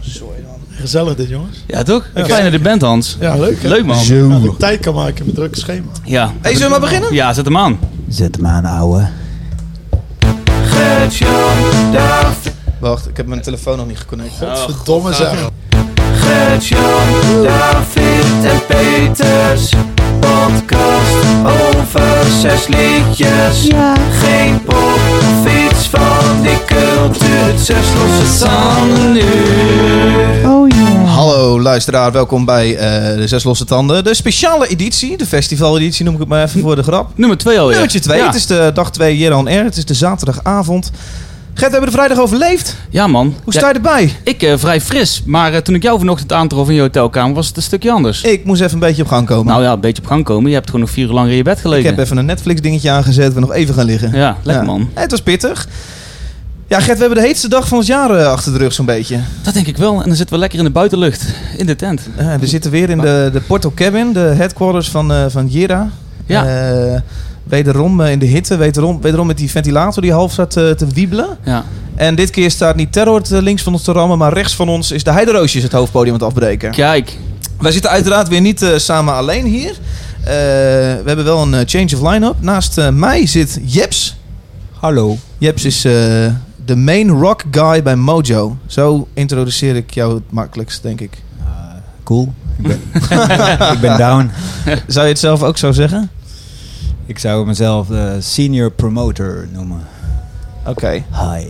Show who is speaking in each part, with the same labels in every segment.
Speaker 1: Sorry man. Gezellig dit jongens.
Speaker 2: Ja, toch?
Speaker 1: Ja.
Speaker 2: Fijn dat je er bent, Hans.
Speaker 1: Ja, leuk. hè?
Speaker 2: Leuk, man.
Speaker 1: Dat
Speaker 3: Zo.
Speaker 1: ik tijd kan maken met drukke schema.
Speaker 2: Ja.
Speaker 4: Hey, zullen we maar beginnen?
Speaker 2: Ja, zet hem aan.
Speaker 3: Zet hem aan, ouwe.
Speaker 4: Wacht, ik heb mijn telefoon nog niet geconnect.
Speaker 1: Oh, Godverdomme zeg.
Speaker 5: David en Peters. Podcast over zes liedjes. Geen pop of iets van die cultuur. Zes losse tanden nu.
Speaker 4: Hallo luisteraar, welkom bij eh, de Zes Losse Tanden. De speciale editie, de festivaleditie noem ik het maar even voor de grap.
Speaker 2: Nummer 2 alweer.
Speaker 4: Nummertje 2,
Speaker 2: Ja.
Speaker 4: het is de dag 2 hier on air. Het is de zaterdagavond. Gert, hebben we de vrijdag overleefd?
Speaker 2: Ja, man.
Speaker 4: Hoe
Speaker 2: Ja,
Speaker 4: sta je erbij?
Speaker 2: Ik eh, vrij fris, maar eh, toen ik jou vanochtend aantrof in je hotelkamer was het een stukje anders.
Speaker 4: Ik moest even een beetje op gang komen.
Speaker 2: Nou ja, een beetje op gang komen. Je hebt gewoon nog vier uur langer in je bed
Speaker 4: ik
Speaker 2: gelegen.
Speaker 4: heb even een Netflix dingetje aangezet. We nog even gaan liggen.
Speaker 2: Ja, lekker
Speaker 4: Ja.
Speaker 2: man.
Speaker 4: Het was pittig. Ja, Gert, we hebben de heetste dag van het jaar eh, achter de rug zo'n beetje.
Speaker 2: Dat denk ik wel. En dan zitten we lekker in de buitenlucht. In de tent.
Speaker 4: Eh, we zitten weer in de, de Porto Cabin, de headquarters van, eh van Jira.
Speaker 2: Ja.
Speaker 4: Eh, wederom eh, in de hitte, wederom, wederom met die ventilator die half staat eh, te wiebelen.
Speaker 2: Ja.
Speaker 4: En dit keer staat niet Terror te- links van ons te rammen, maar rechts van ons is de Heideroosjes het hoofdpodium aan het afbreken.
Speaker 2: Kijk.
Speaker 4: Wij zitten uiteraard weer niet eh, samen alleen hier. Eh, we hebben wel een eh, change of line-up. Naast eh, mij zit Jeps.
Speaker 3: Hallo.
Speaker 4: Jeps is eh, de main rock guy bij Mojo. Zo introduceer ik jou het makkelijkst, denk ik.
Speaker 3: Ah, Cool. Ik ben, ik ben down.
Speaker 4: Zou je het zelf ook zo zeggen?
Speaker 3: Ik zou mezelf eh, senior promoter noemen.
Speaker 4: Oké.
Speaker 3: Hi.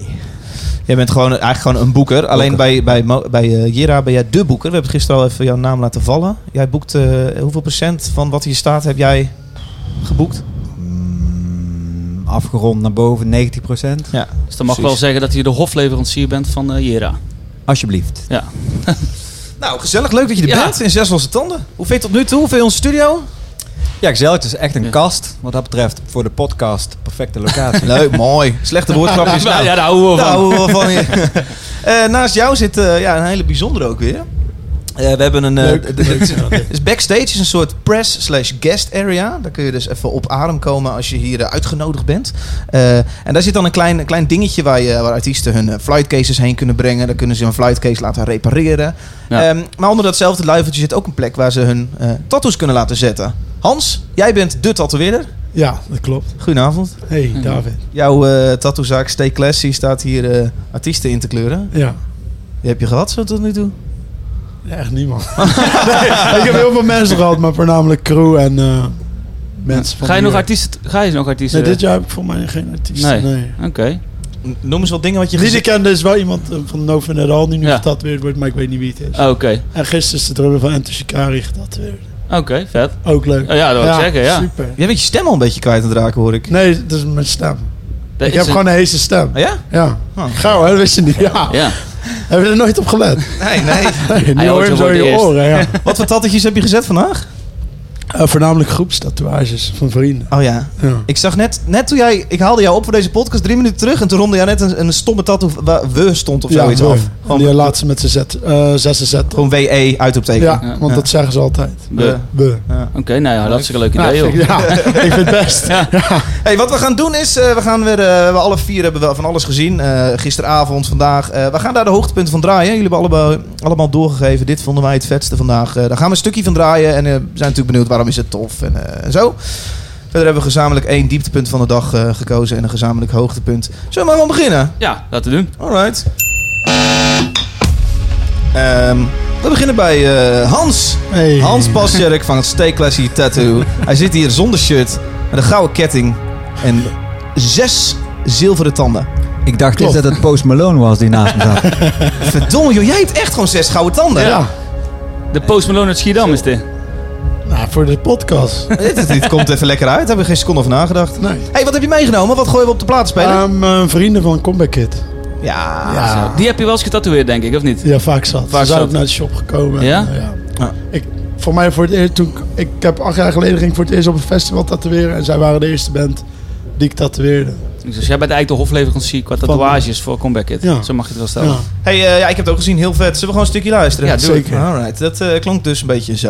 Speaker 4: Jij bent gewoon, eigenlijk gewoon een boeker. Alleen bij, bij, Mo- bij eh, Jira ben jij de boeker. We hebben gisteren al even jouw naam laten vallen. Jij boekt eh, hoeveel procent van wat hier staat heb jij geboekt?
Speaker 3: Mm, afgerond naar boven 90%.
Speaker 4: Ja.
Speaker 2: Dus dan mag ik wel
Speaker 4: Precies.
Speaker 2: zeggen dat je de hofleverancier bent van eh, Jera.
Speaker 3: Alsjeblieft.
Speaker 2: Ja.
Speaker 4: Nou, gezellig. Leuk dat je er
Speaker 2: Ja.
Speaker 4: bent in Zes Losse Tanden. Hoe vind je het tot nu toe? Hoeveel in onze studio?
Speaker 3: Ja, gezellig. Het is echt een
Speaker 2: Ja.
Speaker 3: kast. Wat dat betreft, voor de podcast, perfecte locatie.
Speaker 4: Leuk, mooi. Slechte woordgrapjes.
Speaker 2: Ja,
Speaker 4: nou.
Speaker 2: ja, daar houden we
Speaker 4: Daar
Speaker 2: van.
Speaker 4: houden we wel van. Eh, naast jou zit eh, ja, een hele bijzondere ook weer. Eh, we hebben een... eh, d- d- dus backstage is een soort press slash guest area. Daar kun je dus even op adem komen als je hier eh, uitgenodigd bent. Eh, en daar zit dan een klein, een klein dingetje waar, je, waar artiesten hun eh, flightcases heen kunnen brengen. Daar kunnen ze hun flightcase laten repareren.
Speaker 2: Ja.
Speaker 4: Ehm, maar onder datzelfde luifeltje zit ook een plek waar ze hun eh tattoos kunnen laten zetten. Hans, jij bent de tatoeëerder.
Speaker 1: Ja, dat klopt.
Speaker 4: Goedenavond.
Speaker 2: Mhm.
Speaker 1: Hey David.
Speaker 4: Jouw eh tattoozaak Stay Classy staat hier eh, artiesten in te kleuren.
Speaker 1: Ja.
Speaker 4: Die heb je gehad zo tot nu toe?
Speaker 1: Ja, Echt niemand. nee, ik heb heel veel mensen gehad, maar voornamelijk crew en eh, mensen van
Speaker 2: Ga je
Speaker 1: hier.
Speaker 2: nog artiesten? Ga je nog artiesten?
Speaker 1: Nee, dit jaar heb ik voor mij geen artiesten.
Speaker 2: Nee.
Speaker 1: Nee.
Speaker 2: Oké.
Speaker 4: N- Noem eens wat dingen wat je
Speaker 1: Die die ik
Speaker 4: gezien
Speaker 1: kende is wel iemand eh, van No Fun At All die nu
Speaker 2: Ja. Oh.
Speaker 1: getatoeëerd wordt, maar ik weet niet wie het is.
Speaker 2: Ah, Oké.
Speaker 1: En gisteren is de drummer van Enter Shikari getatoeëerd.
Speaker 2: Oké, vet.
Speaker 1: Ook leuk.
Speaker 2: Oh ja, dat wil ik zeggen, ja.
Speaker 1: Super.
Speaker 4: Jij bent je stem al een beetje kwijt aan het raken, hoor ik.
Speaker 1: Nee, dat is mijn stem.
Speaker 2: Dat
Speaker 1: ik
Speaker 2: is
Speaker 1: heb
Speaker 2: een-
Speaker 1: gewoon een heese stem.
Speaker 4: Oh, ja?
Speaker 1: Ja.
Speaker 4: Oh.
Speaker 1: Gauw, hè? Dat wist je niet. Ja.
Speaker 2: Ja.
Speaker 1: Heb je er nooit op gelet?
Speaker 4: Nee, nee.
Speaker 1: Nee, nu
Speaker 2: hoort
Speaker 1: hoor je hem
Speaker 2: hem
Speaker 1: zo
Speaker 2: voor
Speaker 1: in
Speaker 2: het
Speaker 1: je
Speaker 2: eerst.
Speaker 1: oren. Ja.
Speaker 4: wat voor tattetjes heb je gezet vandaag?
Speaker 1: Eh, voornamelijk groepstatoeages van vrienden.
Speaker 4: Oh ja.
Speaker 1: Ja.
Speaker 4: Ik zag net, net toen jij... Ik haalde jou op voor deze podcast drie minuten terug... en toen ronde jij net een, een stomme tattoo waar we stond of zoiets
Speaker 1: mooi.
Speaker 4: af. Oh
Speaker 1: En
Speaker 4: Gewoon,
Speaker 1: die laatste met z'n zet, eh zes zet.
Speaker 4: gewoon WE, uitroepteken.
Speaker 1: Ja,
Speaker 2: Ja.
Speaker 1: want dat zeggen ze altijd.
Speaker 2: We-
Speaker 4: We.
Speaker 1: We.
Speaker 2: Oké, nou ja, dat is een leuk
Speaker 1: Ja,
Speaker 2: idee,
Speaker 1: vind
Speaker 2: joh.
Speaker 1: ik- ja, ik vind het best.
Speaker 2: Ja.
Speaker 4: Hey, wat we gaan doen is, eh, we gaan weer, eh, we alle vier hebben wel van alles gezien. Eh, gisteravond, vandaag. Eh, we gaan daar de hoogtepunten van draaien. Jullie hebben allemaal, allemaal doorgegeven. Dit vonden wij het vetste vandaag. Eh, daar gaan we een stukje van draaien. En eh, we zijn natuurlijk benieuwd waarom is het tof en eh, en zo. Verder hebben we gezamenlijk één dieptepunt van de dag eh, gekozen en een gezamenlijk hoogtepunt. Zullen we maar gewoon beginnen?
Speaker 2: Ja, laten we doen.
Speaker 4: Alright. Ehm, we beginnen bij eh, Hans.
Speaker 1: Hey.
Speaker 4: Hans Pasjerk van het Stay Classy Tattoo. Hij zit hier zonder shirt, met een gouden ketting en zes zilveren tanden.
Speaker 3: Ik dacht
Speaker 1: Klopt.
Speaker 3: eerst dat het Post Malone was die naast me zat.
Speaker 4: Verdomme joh, jij hebt echt gewoon zes gouden tanden.
Speaker 1: Ja,
Speaker 2: De Post Malone uit Schiedam is dit.
Speaker 1: nou, voor de podcast.
Speaker 4: Dit, dit- dit komt even lekker uit, daar hebben we geen seconde over nagedacht.
Speaker 1: Nee.
Speaker 4: hey, wat heb je meegenomen? Wat gooien we op de plaat spelen?
Speaker 1: Ehm, mijn vrienden van Comeback Kid.
Speaker 4: ja.
Speaker 1: Ja.
Speaker 2: Die heb je wel eens getatoeëerd, denk ik, of niet?
Speaker 1: Ja, vaak zat.
Speaker 2: Vaak
Speaker 1: Ze zijn
Speaker 2: zat.
Speaker 1: ook naar de shop gekomen.
Speaker 2: Ja?
Speaker 1: En, eh, ja.
Speaker 4: Ja.
Speaker 1: Ik, voor mij voor het eerst, toen ik, ik heb acht jaar geleden ging ik voor het eerst op een festival tatoeëren. En zij waren de eerste band die ik tatoeëerde.
Speaker 2: Dus jij bent eigenlijk de hofleverancier qua tatoeages voor Comeback Kid.
Speaker 1: Ja.
Speaker 2: Zo mag je het wel
Speaker 1: Ja.
Speaker 2: stellen.
Speaker 4: Hey, eh, ja, ik heb het ook gezien, heel vet. Zullen we gewoon een stukje luisteren?
Speaker 2: Ja, doe
Speaker 1: het. Zeker.
Speaker 4: Alright, dat eh, klonk dus een beetje zo.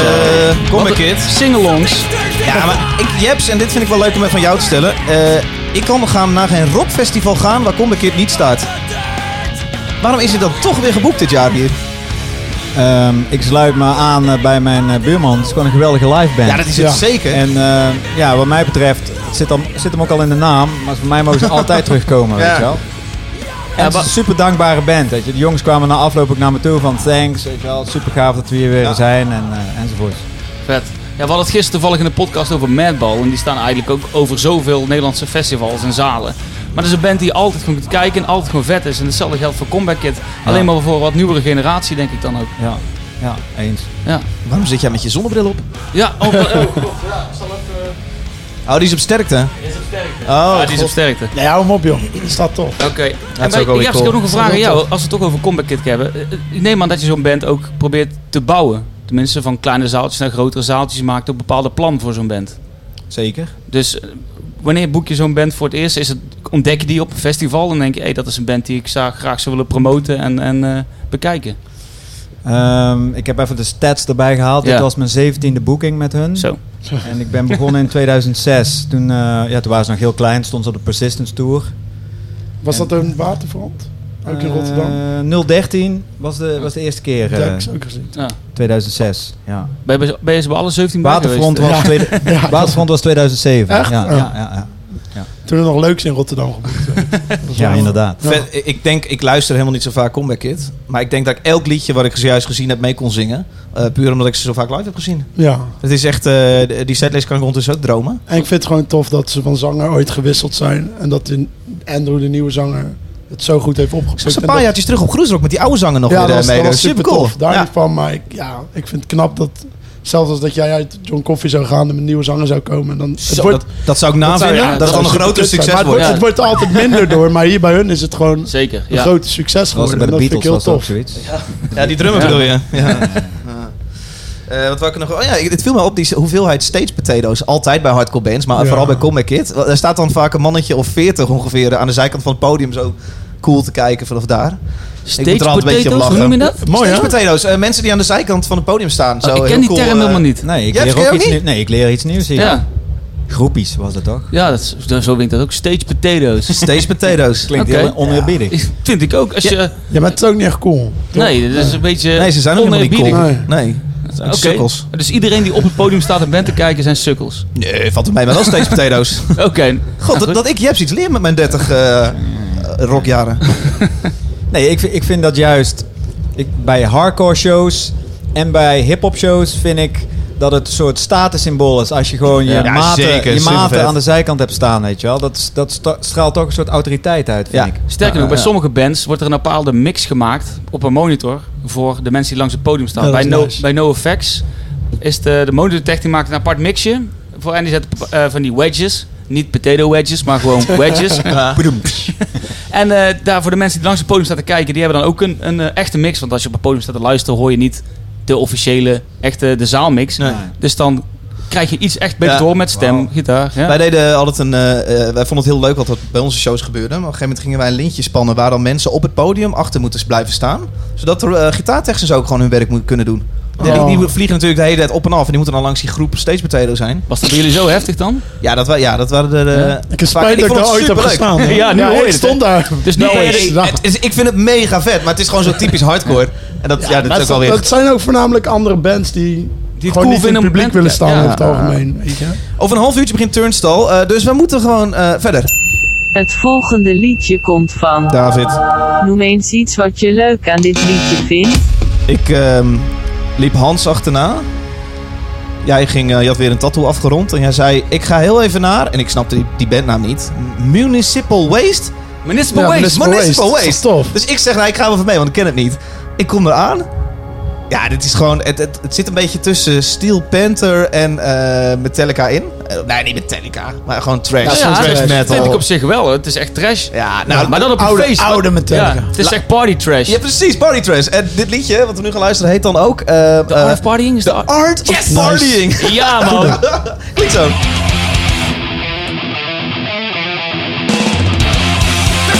Speaker 6: eh,
Speaker 4: Kom maar, kid.
Speaker 2: Singalongs.
Speaker 4: Ja, maar ik, Jeps, en dit vind ik wel leuk om even van jou te stellen. Eh, ik kan gaan naar geen rockfestival gaan waar Comic Kid niet staat. Waarom is het dan toch weer geboekt dit jaar hier?
Speaker 3: Ehm, ik sluit me aan eh, bij mijn eh, buurman. Het is gewoon een geweldige live band.
Speaker 4: Ja, dat is het
Speaker 1: Ja.
Speaker 4: zeker.
Speaker 3: En eh, ja, wat mij betreft, het zit, dan, zit hem ook al in de naam. Maar voor mij mogen ze altijd terugkomen,
Speaker 4: Ja.
Speaker 3: weet je wel. En het is een super dankbare band. Weet je. De jongens kwamen na afloop ook naar me toe van thanks. Weet je wel. Super gaaf dat we hier weer zijn en, eh enzovoort.
Speaker 2: Vet. Ja, we hadden het gisteren toevallig in de podcast over Madball. En die staan eigenlijk ook over zoveel Nederlandse festivals en zalen. Maar dat is een band die je altijd gewoon kunt kijken en altijd gewoon vet is. En hetzelfde geldt voor Comeback Kid. Alleen maar voor wat nieuwere generatie, denk ik dan ook.
Speaker 3: Ja, ja eens.
Speaker 2: Ja,
Speaker 4: Waarom zit jij met je zonnebril op?
Speaker 2: ja oh, oh, oh.
Speaker 4: Oh, die is op sterkte. Die is op sterkte. Oh,
Speaker 2: Ja, die is op sterkte.
Speaker 1: Nee, hou hem op, joh. Staat toch.
Speaker 2: Oké.
Speaker 4: is
Speaker 2: En bij-
Speaker 4: ook wel weer
Speaker 2: Ja, dus ik
Speaker 4: cool.
Speaker 2: heb nog een vraag aan jou. Als we het toch over Comeback Kid hebben. eh, eh, Ik neem aan dat je zo'n band ook probeert te bouwen. Tenminste, van kleine zaaltjes naar grotere zaaltjes. Je maakt ook bepaalde plan voor zo'n band.
Speaker 3: Zeker.
Speaker 2: Dus eh, wanneer boek je zo'n band voor het eerst? Is het, ontdek je die op een festival en denk je, hé, dat is een band die ik zou, graag zou willen promoten en, en eh, bekijken?
Speaker 4: Mm.
Speaker 3: Ehm, ik heb even de stats erbij gehaald.
Speaker 2: Ja.
Speaker 3: Dit was mijn zeventiende boeking met hun.
Speaker 2: Zo.
Speaker 3: En ik ben begonnen in 2006. Toen, eh, ja, toen waren ze nog heel klein. Stonden ze op de Persistence Tour.
Speaker 1: Was dat een waterfront? Ook in
Speaker 3: Eh,
Speaker 1: Rotterdam.
Speaker 3: 013 was de, was de eerste keer. eh,
Speaker 1: Jax ook gezien.
Speaker 2: Ja.
Speaker 3: 2006. Ja.
Speaker 2: Ben, je, bij- ben je ze bij alle 17 bij
Speaker 3: Waterfront,
Speaker 2: geweest?
Speaker 3: was tweede-
Speaker 1: Ja,
Speaker 3: Waterfront was 2007.
Speaker 1: Echt?
Speaker 3: Ja, ja,
Speaker 1: Oh.
Speaker 3: ja, ja.
Speaker 1: Toen er nog leuks in Rotterdam geboekt werd. Dat was
Speaker 3: ja,
Speaker 1: wel-
Speaker 3: inderdaad.
Speaker 4: Vet. Ik- Ik denk, ik luister helemaal niet zo vaak Comeback Kid. Maar ik denk dat ik elk liedje wat ik zojuist gezien heb mee kon zingen. Eh, puur omdat ik ze zo vaak live heb gezien.
Speaker 1: Ja.
Speaker 4: Het is echt, eh, die setlist kan ik ondertussen ook dromen.
Speaker 1: En ik vind het gewoon tof dat ze van zanger ooit gewisseld zijn. En dat de- Andrew, de nieuwe zanger, het zo goed heeft opgepakt.
Speaker 4: Ik was een
Speaker 1: En
Speaker 4: paar
Speaker 1: dat-
Speaker 4: jaartjes terug op Groesrock met die oude zanger nog
Speaker 1: ja,
Speaker 4: weer
Speaker 1: dat
Speaker 4: eh,
Speaker 1: was,
Speaker 4: mee.
Speaker 1: dat was
Speaker 4: super
Speaker 1: super
Speaker 4: cool.
Speaker 1: tof. Daar
Speaker 4: Ja.
Speaker 1: niet van, maar ik, ja, ik vind het knap dat... Zelfs als dat jij uit John Coffee zou gaan en een nieuwe zanger zou komen. En dan, het
Speaker 4: Zo,
Speaker 1: wordt,
Speaker 4: dat, dat zou ik
Speaker 1: dat zou-
Speaker 4: navinden.
Speaker 1: ja,
Speaker 4: dat,
Speaker 1: dat
Speaker 4: is dan een
Speaker 1: zou
Speaker 4: groter
Speaker 1: superkut zijn.
Speaker 4: succes
Speaker 1: Maar het wordt,
Speaker 4: worden.
Speaker 1: het wordt er altijd minder door. Maar hier bij hun is het gewoon een
Speaker 2: Zeker, ja.
Speaker 1: groot succes
Speaker 3: Dat was
Speaker 1: geworden.
Speaker 3: bij
Speaker 1: En
Speaker 3: de
Speaker 1: dat vind ik
Speaker 3: Beatles
Speaker 1: heel
Speaker 3: was dat ook
Speaker 1: tof.
Speaker 3: zoiets.
Speaker 4: Ja, die drummer
Speaker 2: Ja.
Speaker 4: bedoel je. Ja. Eh, wat wou ik er nog... Oh ja, dit viel me op, die hoeveelheid stage potatoes. Altijd bij hardcore bands, maar
Speaker 1: Ja.
Speaker 4: vooral bij Comeback Kid. Want Er staat dan vaak een mannetje of veertig ongeveer aan de zijkant van het podium zo cool te kijken vanaf daar.
Speaker 2: Stage
Speaker 4: ik moet er altijd een beetje op
Speaker 2: potatoes, hoe
Speaker 4: lachen.
Speaker 2: noem je dat? Oh,
Speaker 1: Mooi,
Speaker 4: stage
Speaker 1: hè?
Speaker 4: potatoes, eh, mensen die aan de zijkant van het podium staan. Zo,
Speaker 2: ik
Speaker 4: heel
Speaker 2: ken die
Speaker 4: cool,
Speaker 2: term
Speaker 4: eh,
Speaker 2: helemaal niet.
Speaker 3: Nee, ik
Speaker 4: Jij
Speaker 3: leer
Speaker 4: ken je
Speaker 3: ook
Speaker 4: ook
Speaker 3: iets
Speaker 4: niet?
Speaker 3: nieuws. Nee, ik leer iets nieuws hier.
Speaker 2: Ja,
Speaker 3: Groepies was dat toch?
Speaker 2: ja dat is, dat- zo wint dat ook. Stage potatoes.
Speaker 4: Stage potatoes.
Speaker 3: Klinkt
Speaker 2: Oké.
Speaker 3: heel oneerbiedig.
Speaker 2: Ik- Vind ik ook. Als je,
Speaker 1: Ja, maar het is ook niet echt cool.
Speaker 2: nee, dat is een beetje
Speaker 4: Nee, ze zijn ook helemaal niet cool.
Speaker 2: oneerbiedig.
Speaker 4: Nee.
Speaker 1: Nee.
Speaker 4: Het zijn
Speaker 2: Oké.
Speaker 4: Sukkels.
Speaker 2: Dus iedereen die op het podium staat en bent te kijken zijn sukkels.
Speaker 4: Nee, valt het mij maar wel stage potatoes.
Speaker 2: Oké.
Speaker 4: God, dat, dat ik Jeps iets leer met mijn 30 eh, eh, rockjaren.
Speaker 3: Nee, ik, vind- ik vind dat juist. Ik, bij hardcore shows en bij hip-hop shows vind ik dat het een soort statussymbool is. Als je gewoon je
Speaker 4: Ja,
Speaker 3: maten,
Speaker 4: zeker,
Speaker 3: je
Speaker 4: supervet.
Speaker 3: maten aan de zijkant hebt staan, weet je wel. Dat, s- dat sta- straalt toch een soort autoriteit uit, vind
Speaker 4: Ja.
Speaker 3: ik.
Speaker 2: Sterker nog, bij
Speaker 3: Ja.
Speaker 2: sommige bands wordt er een bepaalde mix gemaakt op een monitor voor de mensen die langs het podium staan.
Speaker 1: Ja, dat
Speaker 2: bij,
Speaker 1: is
Speaker 2: no,
Speaker 1: nice.
Speaker 2: bij NoFX is de, de monitortech die maakt een apart mixje voor en die zet eh, van die wedges. Niet potato wedges, maar gewoon wedges. En eh, daar voor de mensen die langs het podium staan te kijken, die hebben dan ook een, een eh, echte mix. Want als je op het podium staat te luisteren, hoor je niet de officiële, echte de zaalmix.
Speaker 4: Nee.
Speaker 2: Dus dan krijg je iets echt beter
Speaker 4: Ja.
Speaker 2: door met stem,
Speaker 3: Wauw.
Speaker 2: gitaar. Ja.
Speaker 4: Wij deden altijd een. eh, eh, wij vonden het heel leuk wat er bij onze shows gebeurde. Maar op een gegeven moment gingen wij een lintje spannen waar dan mensen op het podium achter moeten blijven staan. Zodat er eh, gitaartechnisch ook gewoon hun werk moeten kunnen doen. Die-
Speaker 1: Oh.
Speaker 4: Die, vliegen natuurlijk de hele tijd op en af. En die moeten dan langs die groep steeds potato zijn.
Speaker 2: Was dat bij jullie zo heftig dan?
Speaker 4: Ja, dat, wa- ja, dat waren de. eh,
Speaker 1: Ik heb
Speaker 4: vaak-
Speaker 1: spijt dat ik
Speaker 4: vond
Speaker 1: daar
Speaker 4: het
Speaker 1: ooit heb
Speaker 4: superleuk.
Speaker 1: gestaan. hè.
Speaker 2: Ja, nu hoor je
Speaker 1: ik
Speaker 2: het, hè.
Speaker 1: stond daar.
Speaker 2: Dus niet
Speaker 4: Nee,
Speaker 2: per
Speaker 4: nee,
Speaker 2: se-
Speaker 4: nee, het is, ik vind het mega vet, maar het is gewoon zo typisch hardcore. En dat, ja, dat
Speaker 1: Maar
Speaker 4: is ook wel
Speaker 1: dat-
Speaker 4: weer.
Speaker 1: Dat zijn ook voornamelijk andere bands die,
Speaker 2: Die het
Speaker 1: gewoon
Speaker 2: cool
Speaker 1: niet in
Speaker 2: vinden
Speaker 1: het
Speaker 2: om
Speaker 1: publiek
Speaker 2: band-
Speaker 1: willen staan
Speaker 2: ja.
Speaker 1: over het algemeen. Weet je?
Speaker 4: Over een half uurtje begint Turnstall, eh, dus we moeten gewoon eh, verder.
Speaker 7: Het volgende liedje komt van.
Speaker 4: David.
Speaker 7: Noem eens iets wat je leuk aan dit liedje vindt.
Speaker 4: Ik ehm, liep Hans achterna. Jij ging, eh, je had weer een tattoo afgerond. En jij zei, ik ga heel even naar... En ik snapte die, die bandnaam niet. Municipal Waste?
Speaker 2: Municipal
Speaker 1: Ja,
Speaker 2: Waste.
Speaker 1: Municipal
Speaker 4: Municipal
Speaker 1: Waste.
Speaker 4: Waste.
Speaker 1: Dat is tof.
Speaker 4: Dus ik zeg, nou, ik ga wel even mee, want ik ken het niet. Ik kom eraan. Ja, dit is gewoon... Het, het, het zit een beetje tussen Steel Panther en eh, Metallica in. Eh, nee, niet Metallica. Maar gewoon trash.
Speaker 1: Ja,
Speaker 2: Nou Ja,
Speaker 1: soms
Speaker 2: dat
Speaker 1: trash
Speaker 4: metal.
Speaker 2: vind ik op zich wel. Het is echt trash.
Speaker 4: Ja, nou,
Speaker 2: maar dan op een
Speaker 1: oude-
Speaker 2: feest.
Speaker 1: oude Metallica.
Speaker 2: Ja, het is echt party trash.
Speaker 4: Ja, precies. Party Trash. En dit liedje, wat we nu gaan luisteren, heet dan ook... eh,
Speaker 2: de
Speaker 4: eh,
Speaker 2: art of partying is de art.
Speaker 4: Art of Partying.
Speaker 2: Ja, man.
Speaker 4: Klinkt zo.
Speaker 6: They're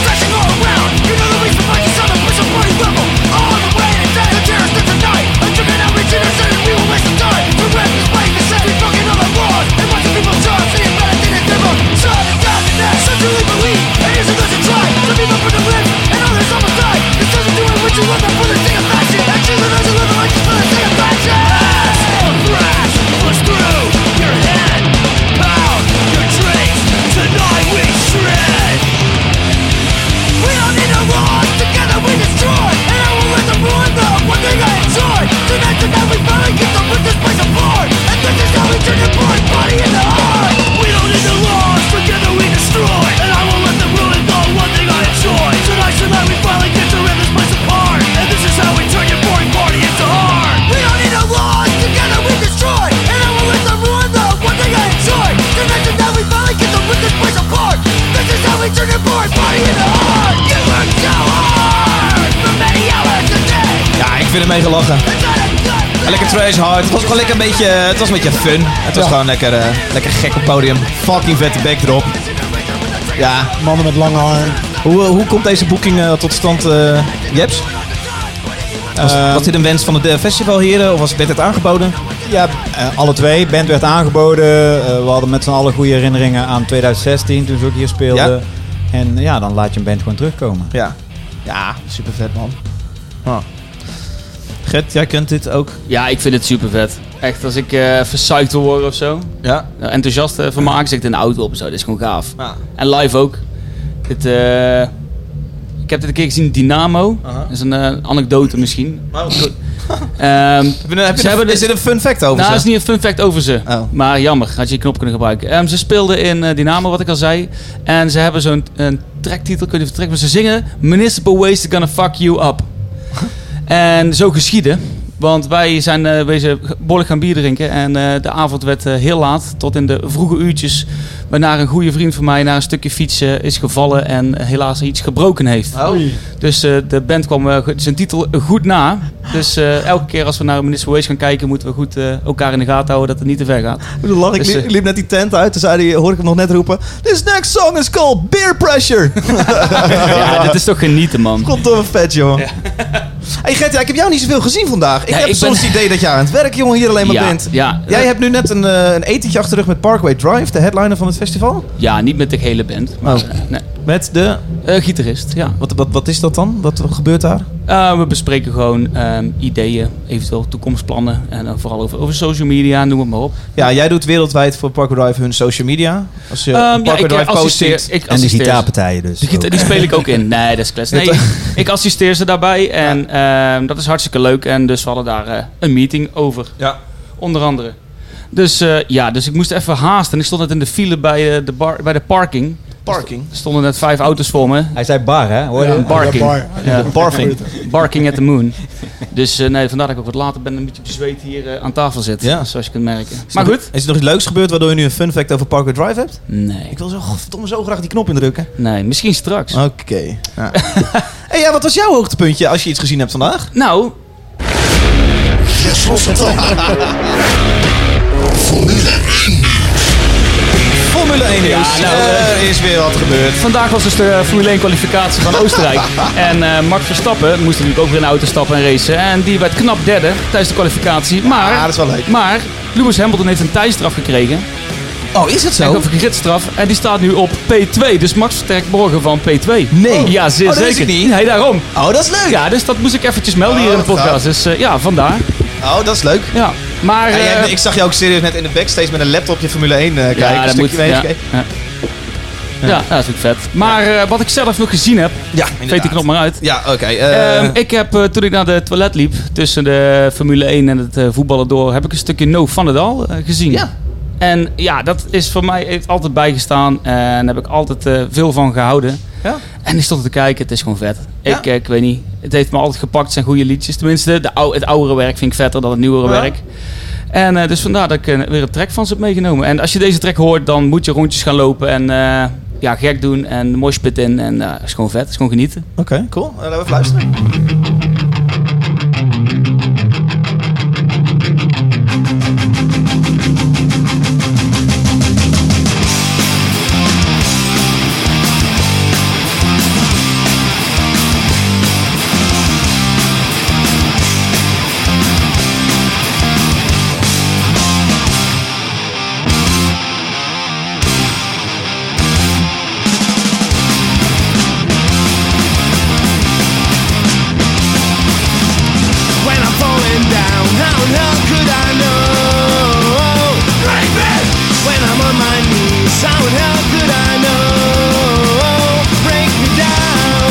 Speaker 6: stretching all around. You know the reason why you saw the push of party level. All the way to death. The terrorists of the night. A driven out regenerator, we will waste some time. The rest is waste. and now we finally get to put this place apart. And this is how we turn your boy body into art. We don't need the laws, together we destroy. And I won't let them rule it all, one thing I enjoy. Tonight, tonight, we finally get to rip this place apart. And this is how we turn your boy party into art. We don't need the laws, together we destroy. And I won't let them ruin the one thing I enjoy. Tonight, tonight, we finally get to rip this place apart. This is how we turn your boy body into art. You work so hard for many hours a day.
Speaker 4: Ja, ik vind ermee gelachen.
Speaker 6: It's not a good thing.
Speaker 4: Lekker trash hard. Het was gewoon lekker een beetje, het was een beetje fun. Het was gewoon lekker, eh, lekker gek op het podium. Fucking vette backdrop. Ja,
Speaker 1: Mannen met lange haar.
Speaker 4: hoe, eh, hoe komt deze boeking eh, tot stand, eh, Jeps? Was, was dit een wens van het eh, festivalheren of was, werd het aangeboden?
Speaker 3: Ja, eh, alle twee. Band werd aangeboden. Eh, we hadden met z'n allen goede herinneringen aan 2016, toen ze ook hier speelden. En ja, dan laat je een band gewoon terugkomen.
Speaker 4: Ja. Ja, super vet man. Ah. Gert, jij kunt dit ook.
Speaker 2: Ja, ik vind het super vet. Echt, als ik eh versuikt wil worden of zo.
Speaker 4: Ja.
Speaker 2: nou, Enthousiast eh, van mijn aangezicht in de auto op en zo. Dit is gewoon gaaf.
Speaker 4: Ja.
Speaker 2: En live ook. Dit, eh, ik heb dit een keer gezien in Dynamo.
Speaker 4: Aha.
Speaker 2: Dat is een eh, anekdote misschien. Ehm,
Speaker 4: Heb
Speaker 2: ze
Speaker 4: je
Speaker 2: hebben
Speaker 4: een,
Speaker 2: de-
Speaker 4: is dit een fun fact over
Speaker 2: nou,
Speaker 4: ze?
Speaker 2: dat is niet een fun fact over ze.
Speaker 4: Oh.
Speaker 2: Maar jammer, had je die knop kunnen gebruiken. Ehm, ze speelden in eh, Dynamo, wat ik al zei. En ze hebben zo'n een tracktitel, kun je vertrekken. Maar ze zingen Municipal Waste Gonna Fuck You Up. en zo geschieden. Want wij zijn eh wezen behoorlijk gaan bier drinken. En eh, de avond werd eh, heel laat, tot in de vroege uurtjes. Waarna een goede vriend van mij naar een stukje fietsen is gevallen. En helaas iets gebroken heeft.
Speaker 4: Oh.
Speaker 1: Oei.
Speaker 2: Dus eh, de band kwam eh, goed- zijn titel goed na. Dus eh, elke keer als we naar Municipal Waste gaan kijken, moeten we goed eh, elkaar in de gaten houden dat het niet te ver gaat.
Speaker 4: Ik bedoel, lach, ik
Speaker 2: Dus,
Speaker 4: liep,
Speaker 2: eh,
Speaker 4: liep net die tent uit, toen zei hij, hoor ik hem nog net roepen... This next song is called Beer Pressure.
Speaker 2: ja, dit is toch genieten, man.
Speaker 4: Goddomme vet, joh. hey Gert, ja, ik heb jou niet zoveel gezien vandaag. Ik
Speaker 2: Ja,
Speaker 4: heb
Speaker 2: ik ben-
Speaker 4: soms het idee dat jij aan het werk, jongen, hier alleen maar
Speaker 2: Ja,
Speaker 4: bent.
Speaker 2: ja.
Speaker 4: Jij hebt nu net een, eh, een etentje achter de rug met Parkway Drive, de headliner van het festival.
Speaker 2: Ja, niet met de hele band. Maar,
Speaker 4: Oh.
Speaker 2: eh, nee.
Speaker 4: Met de...
Speaker 2: Eh, gitarist, ja.
Speaker 4: Wat, wat, wat is dat dan? Wat gebeurt daar?
Speaker 2: Eh, we bespreken gewoon ehm, ideeën, eventueel toekomstplannen. En dan vooral over, over social media, noem het maar op.
Speaker 4: Ja, jij doet wereldwijd voor Parkway Drive hun social media. Als je
Speaker 2: Ehm,
Speaker 4: op Parkway
Speaker 2: eh,
Speaker 4: Drive post
Speaker 2: assisteer-
Speaker 4: ziet.
Speaker 2: ik
Speaker 3: En de
Speaker 2: assisteer ze.
Speaker 3: gitaarpartijen dus.
Speaker 2: Die, gita- die speel ik ook in. Nee, dat is klets. Nee, ik assisteer ze daarbij en ehm, dat is hartstikke leuk. En dus we hadden daar eh, een meeting over.
Speaker 4: Ja.
Speaker 2: Onder andere. Dus eh, ja, dus ik moest even haasten. Ik stond net in de file bij, eh, de, bar, bij de parking.
Speaker 4: Parking.
Speaker 2: Er stonden net vijf auto's voor me.
Speaker 3: Hij zei bar, hè? Hoor je?
Speaker 1: Ja,
Speaker 2: barking.
Speaker 1: bar.
Speaker 2: Ja,
Speaker 4: barfing.
Speaker 2: Barking at the moon. Dus eh, nee, vandaar dat ik ook wat later ben en een beetje bezweet hier eh, aan tafel zit.
Speaker 4: Ja.
Speaker 2: Zoals je kunt merken. Maar goed.
Speaker 4: Is er nog iets leuks gebeurd waardoor je nu een fun fact over Parkway Drive hebt?
Speaker 2: Nee,
Speaker 4: Ik wil zo, verdomme, zo graag die knop indrukken.
Speaker 2: nee misschien straks.
Speaker 4: Oké. Ja. hey, ja, wat was jouw hoogtepuntje als je iets gezien hebt vandaag?
Speaker 2: Nou,
Speaker 4: Formule 1 nieuws.
Speaker 2: nou,
Speaker 4: er is weer wat gebeurd.
Speaker 2: vandaag was dus de Formule 1 kwalificatie van Oostenrijk. en eh, Max Verstappen moest natuurlijk ook weer in de auto stappen en racen. En die werd knap derde tijdens de kwalificatie. Maar,
Speaker 4: Ah, dat is wel leuk.
Speaker 2: maar Lewis Hamilton heeft een tijdstraf gekregen.
Speaker 4: Oh, is het zo?
Speaker 2: Of een gridstraf. En die staat nu op P2. Dus Max vertrekt morgen van P2.
Speaker 4: Nee.
Speaker 2: Ja, zeer
Speaker 4: Oh, dat
Speaker 2: zeker.
Speaker 4: wist ik niet.
Speaker 2: Nee, daarom.
Speaker 4: Oh, dat is leuk.
Speaker 2: Ja, dus dat moest ik eventjes melden hier in de
Speaker 4: Oh, gaaf.
Speaker 2: podcast. Dus eh, ja, vandaar.
Speaker 4: Oh, dat is leuk.
Speaker 2: Ja. Maar...
Speaker 4: Ja, jij-
Speaker 2: eh,
Speaker 4: ik zag jou ook serieus net in de backstage met een laptopje Formule 1 eh, kijken.
Speaker 2: ja,
Speaker 4: een
Speaker 2: dat moet.
Speaker 4: stukje
Speaker 2: Ja,
Speaker 4: mee.
Speaker 2: ja. Ja, dat is ook vet. Maar eh, wat ik zelf nog gezien heb,
Speaker 4: ja
Speaker 2: weet ik
Speaker 4: inderdaad.
Speaker 2: nog maar uit.
Speaker 4: Ja, oké. eh,
Speaker 2: Ehm, ik heb, eh, toen ik naar de toilet liep, tussen de Formule 1 en het eh, voetballen door, heb ik een stukje No Van het Al eh, gezien.
Speaker 4: Ja.
Speaker 2: En ja, dat is voor mij heeft altijd bijgestaan en daar heb ik altijd eh, veel van gehouden.
Speaker 4: Ja.
Speaker 2: En ik stond te kijken, het is gewoon vet.
Speaker 4: Ja.
Speaker 2: Ik, eh, ik weet niet, het heeft me altijd gepakt, het zijn goede liedjes. Tenminste, de ou- het oudere werk vind ik vetter dan het nieuwere
Speaker 4: Ja.
Speaker 2: werk. En eh, dus vandaar dat ik eh, weer een track van ze heb meegenomen. En als je deze track hoort, dan moet je rondjes gaan lopen en eh, ja, gek doen en de moshpit in. En eh, het is gewoon vet, het is gewoon genieten.
Speaker 4: Oké, cool. Eh, laten we even luisteren.
Speaker 6: When I'm falling down, how in hell could I know? Raven! When I'm on my knees, how in hell could I know? Break me down.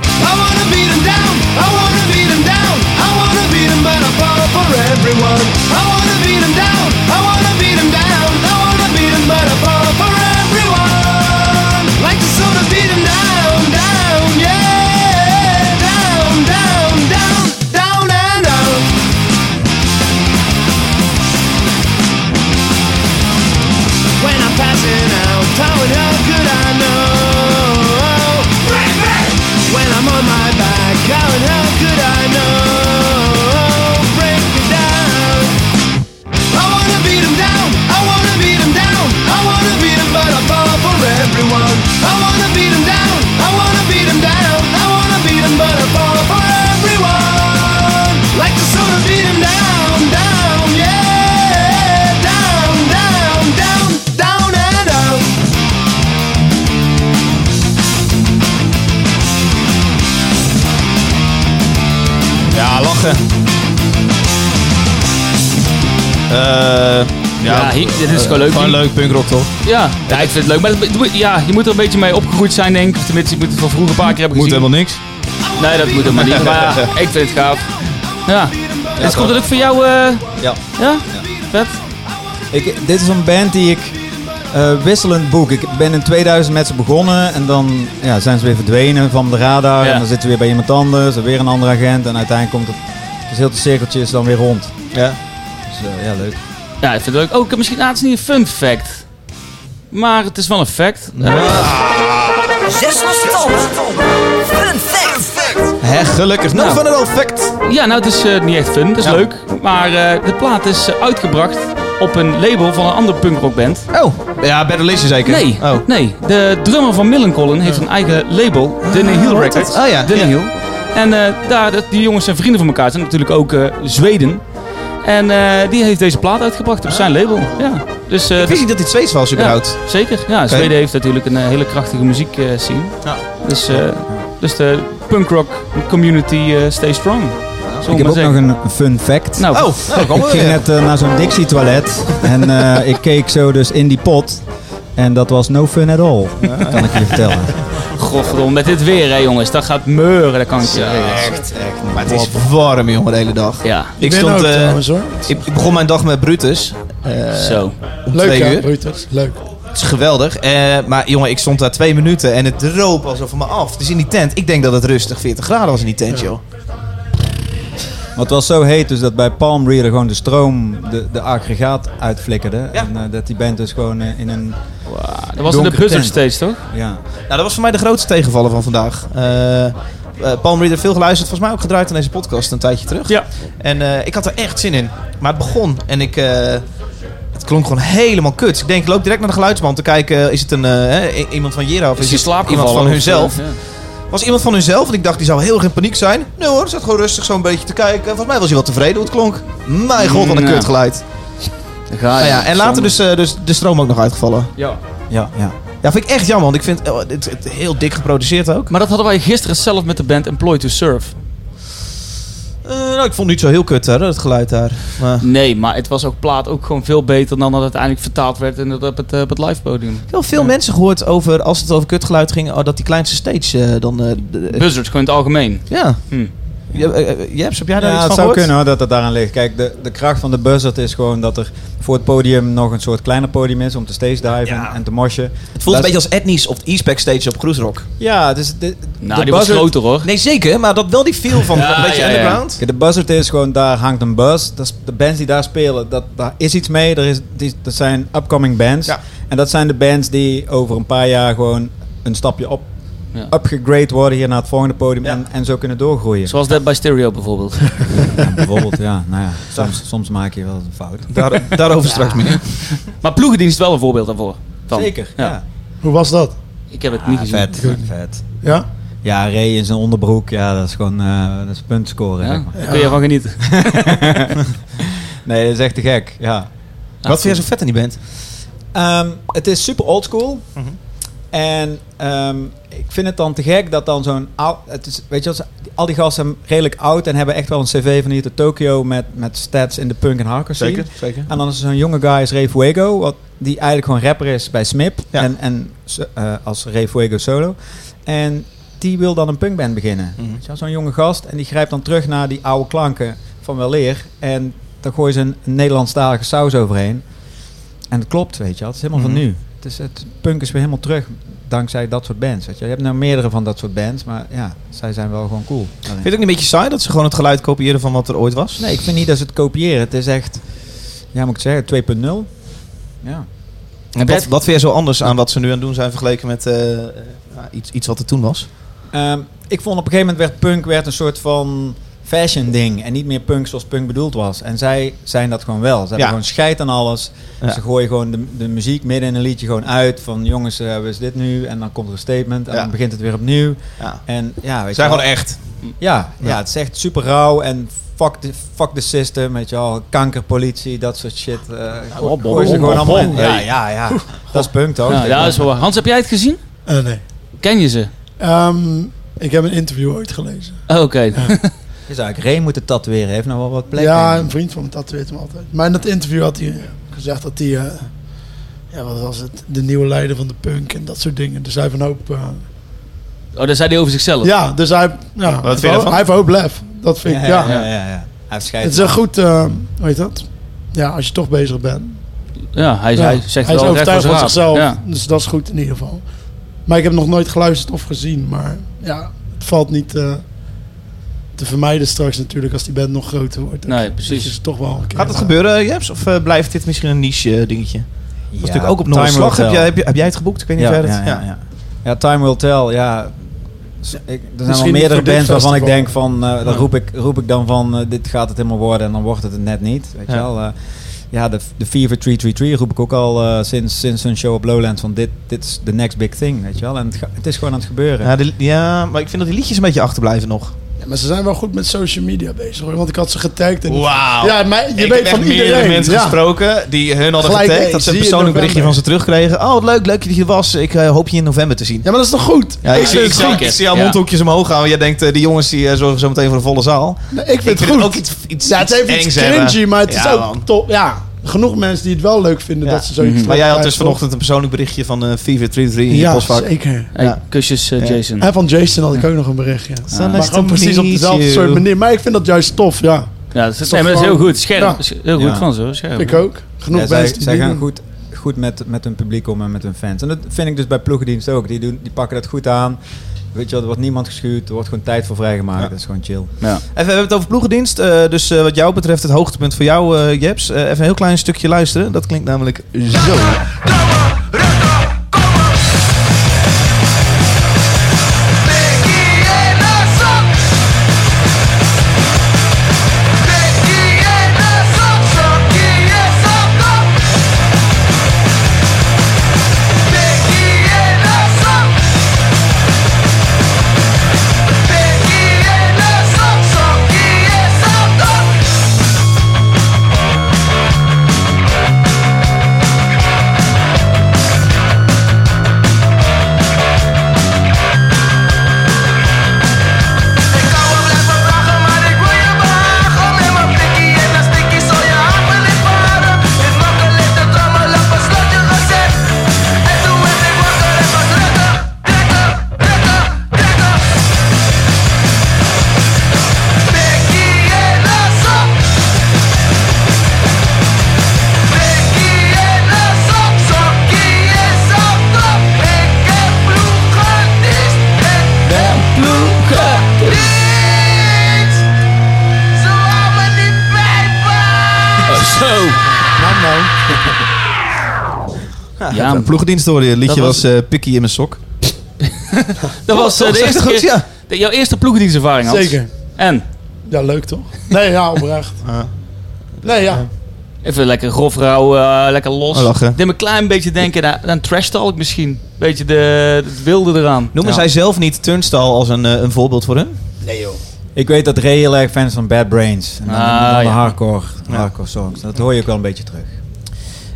Speaker 6: I wanna beat 'em down, I wanna beat 'em down, I wanna beat 'em, but I fall, fall, down, down, yeah. Down, down, down, down and out.
Speaker 4: Ja, lachen. Eh,
Speaker 2: Ja, hier- dit is gewoon leuk.
Speaker 4: Gewoon leuk punkrock toch?
Speaker 2: Ja, ja, ik vind het leuk. Maar het- het moet- ja, je moet er een beetje mee opgegroeid zijn, denk ik. Of Tenminste, je moet het van vroeger een paar keer hebben
Speaker 4: Moet
Speaker 2: gezien.
Speaker 4: helemaal niks.
Speaker 2: Nee, dat moet helemaal niet. Maar ja, ik vind het gaaf. Ja. dus komt het ook voor jou, eh
Speaker 3: Ja.
Speaker 2: ja? Vet?
Speaker 3: Ik, dit is een band die ik eh, wisselend boek. Ik ben in 2000 met ze begonnen en dan ja, zijn ze weer verdwenen van de radar.
Speaker 2: Ja.
Speaker 3: En dan zitten ze weer bij iemand anders en weer een andere agent. En uiteindelijk komt het, dus heel het cirkeltje is dan weer rond.
Speaker 4: Ja.
Speaker 3: Dus eh, ja, leuk.
Speaker 2: Ja, ik vind het leuk. Oh, ik heb misschien, ah, het is niet een fun fact. Maar het is wel een fact.
Speaker 8: Zes verstand. Fun fact.
Speaker 4: Hè, gelukkig. Nou,
Speaker 2: Nou.
Speaker 4: van het effect.
Speaker 2: Ja, nou, het is eh, niet echt fun. Het is leuk. Maar eh, de plaat is eh, uitgebracht op een label van een andere punkrockband.
Speaker 4: Oh. Ja, Better Listen zeker?
Speaker 2: Nee,
Speaker 4: Oh.
Speaker 2: nee. De drummer van Millencolin heeft een eigen label, Denny Hill Records.
Speaker 4: Oh ja,
Speaker 2: Denny
Speaker 4: ja.
Speaker 2: Hill. En eh, daar, dat- die jongens zijn vrienden van elkaar. Het zijn natuurlijk ook eh, Zweden. En eh, die heeft deze plaat uitgebracht op zijn label. Ja. Dus, eh,
Speaker 4: Ik wist niet dat dit Zweeds was
Speaker 2: ja,
Speaker 4: überhaupt.
Speaker 2: zeker. Ja, Zweden heeft natuurlijk een eh, hele krachtige muziek eh, scene.
Speaker 4: Ja.
Speaker 2: Dus, eh, dus de punkrock community eh, stay strong. Zullen we
Speaker 3: Ik heb
Speaker 2: maar
Speaker 3: ook nog
Speaker 2: zeggen.
Speaker 3: een fun fact.
Speaker 2: Nou,
Speaker 4: Oh, nou, daar
Speaker 3: Ik
Speaker 4: komen we
Speaker 3: ging
Speaker 4: weer.
Speaker 3: net eh, naar zo'n Dixie-toilet en eh, ik keek zo dus in die pot. En dat was no fun at all, kan ik je vertellen.
Speaker 2: godverdomme, met dit weer hè jongens. Dat gaat meuren, dat kan ik je zeggen.
Speaker 4: Echt, echt. Maar het is warm, jongen, de hele dag.
Speaker 2: Ja,
Speaker 4: Ik,
Speaker 1: ben
Speaker 4: stond,
Speaker 1: ook
Speaker 4: eh,
Speaker 1: trouwens hoor.
Speaker 4: ik, ik begon mijn dag met Brutus. Eh,
Speaker 2: zo.
Speaker 4: om
Speaker 1: Leuk
Speaker 4: twee
Speaker 1: hè,
Speaker 4: uur.
Speaker 1: Brutus. Leuk.
Speaker 4: Het is geweldig. Eh, maar jongen, ik stond daar twee minuten en het roop alsof van me af. Dus in die tent, ik denk dat het rustig 40 graden was in die tent, joh.
Speaker 3: Maar het was zo heet dus dat bij Palm Reader gewoon de stroom de, de aggregaat uitflikkerde. En eh, dat die band dus gewoon eh, in een...
Speaker 2: Dat was in de
Speaker 3: Donkere
Speaker 2: bus nog
Speaker 3: tent.
Speaker 2: steeds, toch?
Speaker 3: Ja,
Speaker 4: Nou, dat was voor mij de grootste tegenvaller van vandaag. Eh eh, Palm Reader veel geluisterd, volgens mij ook gedraaid in deze podcast een tijdje terug.
Speaker 2: Ja.
Speaker 4: En eh, ik had er echt zin in. Maar het begon en ik. eh, het klonk gewoon helemaal kut. Ik denk, ik loop direct naar de geluidsman te kijken. eh, Is het een, eh, hè, i- iemand van Jera of eh, is,
Speaker 2: Is je
Speaker 4: het
Speaker 2: slaap
Speaker 4: iemand van hunzelf? Was iemand van hunzelf? En ik dacht, die zou heel erg in paniek zijn. Nee hoor, zat gewoon rustig zo'n beetje te kijken. Volgens mij was hij wel tevreden hoe het klonk. Mijn god, wat een
Speaker 2: Ja.
Speaker 4: kut geluid. Nou ja, en later dus, eh, dus de stroom ook nog uitgevallen.
Speaker 2: Ja.
Speaker 3: ja, ja.
Speaker 4: Ja, vind ik echt jammer, want ik vind oh, het, het heel dik geproduceerd ook.
Speaker 2: Maar dat hadden wij gisteren zelf met de band Employ to Surf.
Speaker 4: Eh, nou, ik vond het niet zo heel kut, hè, dat geluid daar. Maar...
Speaker 2: Nee, maar het was ook plaat ook gewoon veel beter dan dat het uiteindelijk vertaald werd en dat op het, eh, op het live podium.
Speaker 4: Ik heb wel veel mensen gehoord over, als het over kutgeluid ging, oh, dat die kleinste stage eh, dan... eh, de- de-
Speaker 2: Buzzards, gewoon in het algemeen.
Speaker 4: ja.
Speaker 2: Hm.
Speaker 4: Je, eh, eh, Jeps, heb jij daar
Speaker 3: ja,
Speaker 4: iets van
Speaker 3: het zou
Speaker 4: gehoord?
Speaker 3: kunnen hoor, dat het daaraan ligt. Kijk, de, de kracht van de buzzard is gewoon dat er voor het podium nog een soort kleiner podium is om te stage diven
Speaker 4: Ja.
Speaker 3: en te moshen.
Speaker 4: Het voelt een beetje als etnisch of de e stage op Cruise Rock.
Speaker 3: Ja, dus de,
Speaker 2: Nou,
Speaker 3: de
Speaker 2: die was
Speaker 3: buzzard-
Speaker 2: groter hoor.
Speaker 4: Nee, zeker, maar dat wel die feel van
Speaker 2: Ja,
Speaker 4: een beetje
Speaker 2: ja, ja.
Speaker 4: underground.
Speaker 3: Kijk, De buzzard is gewoon, daar hangt een buzz. Dat is- de bands die daar spelen, dat, daar is iets mee. Er is, die, dat zijn upcoming bands.
Speaker 4: Ja.
Speaker 3: En dat zijn de bands die over een paar jaar gewoon een stapje op,
Speaker 2: Ja.
Speaker 3: upgegrade worden hier naar het volgende podium
Speaker 4: Ja.
Speaker 3: en, en zo kunnen doorgroeien.
Speaker 2: Zoals Dead by Stereo bijvoorbeeld.
Speaker 3: Ja, bijvoorbeeld, ja. Nou ja, soms, soms maak je wel eens een fout.
Speaker 4: Daar- daarover straks meer.
Speaker 2: maar Ploegendienst is wel een voorbeeld daarvoor. Van.
Speaker 3: Zeker, ja. Ah,
Speaker 2: Ja.
Speaker 1: Hoe was dat?
Speaker 2: Ik heb het niet gezien.
Speaker 3: vet, vet.
Speaker 1: Ja?
Speaker 3: Ja, Ray in zijn onderbroek, ja, dat is gewoon eh dat is puntscoren.
Speaker 2: Ja,
Speaker 3: zeg maar.
Speaker 2: daar kun je van genieten.
Speaker 3: Nee, dat is echt te gek, ja.
Speaker 4: Wat vind jij zo vet in die band?
Speaker 3: Ehm, het is super oldschool. En ehm, ik vind het dan te gek dat dan zo'n oud... Het is, weet je, wel, ze- al die gasten zijn redelijk oud en hebben echt wel een cv van hier tot Tokio met, met stats in de punk en hardcore scene.
Speaker 4: zeker.
Speaker 3: En dan is er zo'n jonge guy als Ray Fuego, wat, die eigenlijk gewoon rapper is bij Smip.
Speaker 4: Ja.
Speaker 3: En, en so- eh, als Ray Fuego solo. En die wil dan een punkband beginnen.
Speaker 4: Mhm.
Speaker 3: Weet je wel, Zo'n jonge gast. En die grijpt dan terug naar die oude klanken van weleer. En daar gooien ze een, een Nederlandstalige saus overheen. En het klopt, weet je wel. Het is helemaal
Speaker 4: Mhm.
Speaker 3: van nu. Het, is, het punk is weer helemaal terug dankzij dat soort bands. Weet je. wel. je hebt nou meerdere van dat soort bands. Maar ja, zij zijn wel gewoon cool. daarin.
Speaker 4: Vind je het ook niet een beetje saai dat ze gewoon het geluid kopiëren van wat er ooit was?
Speaker 3: Nee, ik vind niet dat ze het kopiëren. Het is echt, ja moet ik het zeggen, 2.0. Ja.
Speaker 4: En wat, wat vind jij zo anders aan wat ze nu aan het doen zijn vergeleken met eh, eh, nou, iets, iets wat er toen was?
Speaker 3: Ehm, ik vond op een gegeven moment werd punk werd een soort van fashion ding en niet meer punk zoals punk bedoeld was. En zij zijn dat gewoon wel. Ze hebben
Speaker 4: Ja.
Speaker 3: gewoon scheid aan alles.
Speaker 4: Ja.
Speaker 3: Ze gooien gewoon de, de muziek midden in een liedje gewoon uit van jongens, eh, we is dit nu en dan komt er een statement en
Speaker 4: Ja.
Speaker 3: dan begint het weer opnieuw.
Speaker 4: Ja.
Speaker 3: En ja, weet
Speaker 4: Ze zijn
Speaker 3: je
Speaker 4: gewoon
Speaker 3: wel.
Speaker 4: echt.
Speaker 3: Ja, ja. het is echt super rauw en fuck the, fuck the system, weet je wel. Kankerpolitie, dat soort shit. eh gooi-
Speaker 9: op,
Speaker 3: gooi ze
Speaker 9: op,
Speaker 3: gewoon
Speaker 9: op,
Speaker 3: allemaal
Speaker 9: op.
Speaker 3: in. Ja,
Speaker 9: Hey.
Speaker 3: ja, ja. Dat is punk toch?
Speaker 2: Ja, ja, dat is wel waar. Hans, heb jij het gezien?
Speaker 1: Eh, nee.
Speaker 2: Ken je ze?
Speaker 1: Ehm, ik heb een interview ooit gelezen.
Speaker 2: Oh, Oké.
Speaker 3: Je zou eigenlijk Ray moeten tatoeëren. Heeft nou wel wat plek.
Speaker 1: ja,
Speaker 3: denk ik.
Speaker 1: een vriend van me tatoeëert hem altijd. Maar in dat interview had hij eh, gezegd dat hij... eh, ja, wat was het? De nieuwe leider van de punk en dat soort dingen. Dus hij heeft een hoop... eh,
Speaker 2: Oh, dat zei hij over zichzelf.
Speaker 1: ja, dus hij... heeft- Ja,
Speaker 4: vind je ervan?
Speaker 1: Hij heeft een hoop lef. Dat vind ik, ja.
Speaker 3: ja, ja, ja. Hij heeft scheid.
Speaker 1: Het is een goed... eh, hoe heet dat? Ja, als je toch bezig bent.
Speaker 2: Ja, hij,
Speaker 1: Ja,
Speaker 2: hij zegt
Speaker 1: hij is
Speaker 2: wel recht
Speaker 1: overtuigd
Speaker 2: voor
Speaker 1: van
Speaker 2: zijn
Speaker 1: zichzelf.
Speaker 2: raap. Ja.
Speaker 1: Dus dat is goed in ieder geval. Maar ik heb nog nooit geluisterd of gezien. Maar ja, het valt niet eh, te vermijden straks natuurlijk als die band nog groter wordt.
Speaker 2: Nee,
Speaker 1: Dus
Speaker 2: precies.
Speaker 1: het is toch wel een keer.
Speaker 4: Gaat dat gebeuren, Jeps? Of eh, blijft dit misschien een niche eh, dingetje?
Speaker 3: Ja,
Speaker 4: Dat was natuurlijk ook op
Speaker 3: Time
Speaker 4: Noorderslag.
Speaker 3: Will
Speaker 4: Heb, jij-
Speaker 3: Tell.
Speaker 4: heb, je- heb jij het geboekt? Ik weet niet
Speaker 3: ja,
Speaker 4: verder.
Speaker 3: ja, ja, ja. Ja, Time Will Tell, ja. S- ik- er zijn
Speaker 1: Misschien
Speaker 3: wel meerdere
Speaker 1: voor dit
Speaker 3: bands waarvan ik
Speaker 1: festival.
Speaker 3: denk van, eh dan roep ik, roep ik dan van, eh, dit gaat het helemaal worden en dan wordt het het net niet. Weet
Speaker 4: Ja.
Speaker 3: je wel? eh. ja, de, de Fever 333 roep ik ook al eh, sinds, sinds hun show op Lowlands van, dit, dit is the next big thing, weet je wel. En het, ga- het is gewoon aan het gebeuren.
Speaker 4: Ja, de- ja, maar ik vind dat die liedjes een beetje achterblijven nog.
Speaker 1: Ja, maar ze zijn wel goed met social media bezig hoor. Want ik had ze getagd. En...
Speaker 4: Wauw.
Speaker 1: Ja, maar je
Speaker 4: ik heb
Speaker 1: weet
Speaker 4: echt
Speaker 1: van
Speaker 4: meerdere
Speaker 1: iedereen.
Speaker 4: mensen
Speaker 1: ja.
Speaker 4: gesproken die hun hadden
Speaker 1: Gelijk,
Speaker 4: getagd.
Speaker 1: hey,
Speaker 4: Dat ze een
Speaker 1: zie je
Speaker 4: persoonlijk
Speaker 1: november.
Speaker 4: berichtje van ze terugkregen. Oh, wat leuk, leuk dat je er was. Ik eh, hoop je in november te zien.
Speaker 1: Ja, maar dat is toch goed?
Speaker 4: Ja, ik, zie, ik,
Speaker 1: vind
Speaker 4: zie,
Speaker 1: het
Speaker 2: zeker.
Speaker 1: goed.
Speaker 4: ik zie jouw
Speaker 2: Ja.
Speaker 4: mondhoekjes omhoog gaan. want Jij denkt, eh, die jongens die, eh, zorgen zo meteen voor een volle zaal.
Speaker 1: Nee, ik vind het
Speaker 4: het
Speaker 1: goed.
Speaker 4: ook iets, iets,
Speaker 1: ja, het heeft
Speaker 4: engs
Speaker 1: iets
Speaker 4: hebben.
Speaker 1: cringy, maar het is
Speaker 4: Ja,
Speaker 1: ook
Speaker 4: man.
Speaker 1: top. Ja, genoeg mensen die het wel leuk vinden
Speaker 4: Ja.
Speaker 1: dat ze zoiets
Speaker 4: Maar jij had dus
Speaker 1: terugkrijgen, toch?
Speaker 4: vanochtend een persoonlijk berichtje van eh Fever 33 in je
Speaker 1: Ja,
Speaker 4: postvak.
Speaker 1: zeker.
Speaker 2: Hey,
Speaker 4: Ja.
Speaker 2: Kusjes, eh,
Speaker 4: Ja.
Speaker 2: Jason.
Speaker 1: En van Jason had ik ook nog een berichtje.
Speaker 4: So nice
Speaker 1: maar
Speaker 4: to
Speaker 1: gewoon precies op
Speaker 4: meet
Speaker 1: dezelfde
Speaker 4: you.
Speaker 1: soort manier. Maar ik vind dat juist tof, ja.
Speaker 2: Ja, dat is,
Speaker 1: toch
Speaker 2: nee, maar dat is heel
Speaker 1: gewoon-
Speaker 2: goed. Scherp.
Speaker 1: Ja.
Speaker 2: Heel goed
Speaker 3: Ja.
Speaker 2: van ze hoor. Scherp.
Speaker 1: Ik ook. Genoeg
Speaker 3: Ja, zij,
Speaker 1: mensen die
Speaker 3: zij
Speaker 1: die
Speaker 3: gaan
Speaker 1: doen.
Speaker 3: goed, goed met, met hun publiek om en met hun fans. En dat vind ik dus bij ploegendienst ook. Die, doen, die pakken dat goed aan. Weet je wel, er wordt niemand geschuwd. Er wordt gewoon tijd voor vrijgemaakt. Dat is gewoon chill.
Speaker 4: Even, we hebben het over ploegendienst. eh, dus eh, wat jou betreft het hoogtepunt voor jou, eh, Jeps. Eh, even een heel klein stukje luisteren. Dat klinkt namelijk zo.
Speaker 6: Ik kan wel blijven vragen, maar ik wil je behagen. Met mijn pikkie en een stikkie zal je hart wel niet varen. Dit makkelijk de trommel op een slotje gezet. En toen werd ik wakker en was lekker, lekker, lekker, lekker. Pikkie en een sok. Pikkie en een sok, sokkie en sok, sok. Ik heb bloed gedist en ben bloed Zo hou me niet bij
Speaker 2: Zo.
Speaker 4: Ja,
Speaker 2: Ja,
Speaker 4: een ploegendienst hoorde je. Het liedje
Speaker 2: Dat
Speaker 4: was,
Speaker 2: was-
Speaker 4: eh Pikkie in mijn sok.
Speaker 2: Dat was eh,
Speaker 4: Toch,
Speaker 2: de
Speaker 4: zeg
Speaker 2: eerste
Speaker 4: het goed,
Speaker 2: keer.
Speaker 4: ja.
Speaker 2: de- jouw eerste ploegendienstervaring had.
Speaker 1: Zeker.
Speaker 2: En?
Speaker 1: Ja, leuk toch? Nee, ja, oprecht. Nee, ja.
Speaker 2: Even lekker grof rauw, eh, lekker los.
Speaker 4: Oh, lachen.
Speaker 2: Deed me een klein beetje denken aan, aan trash talk misschien. Beetje de, het wilde eraan.
Speaker 4: Noemen zij zelf niet Turnstile als een, eh, een voorbeeld voor hun?
Speaker 3: Ik weet dat Ray heel erg fan is van Bad Brains. En dan,
Speaker 2: Ah,
Speaker 3: dan de
Speaker 2: ja.
Speaker 3: hardcore, hardcore songs. Dat hoor je ook wel een beetje terug.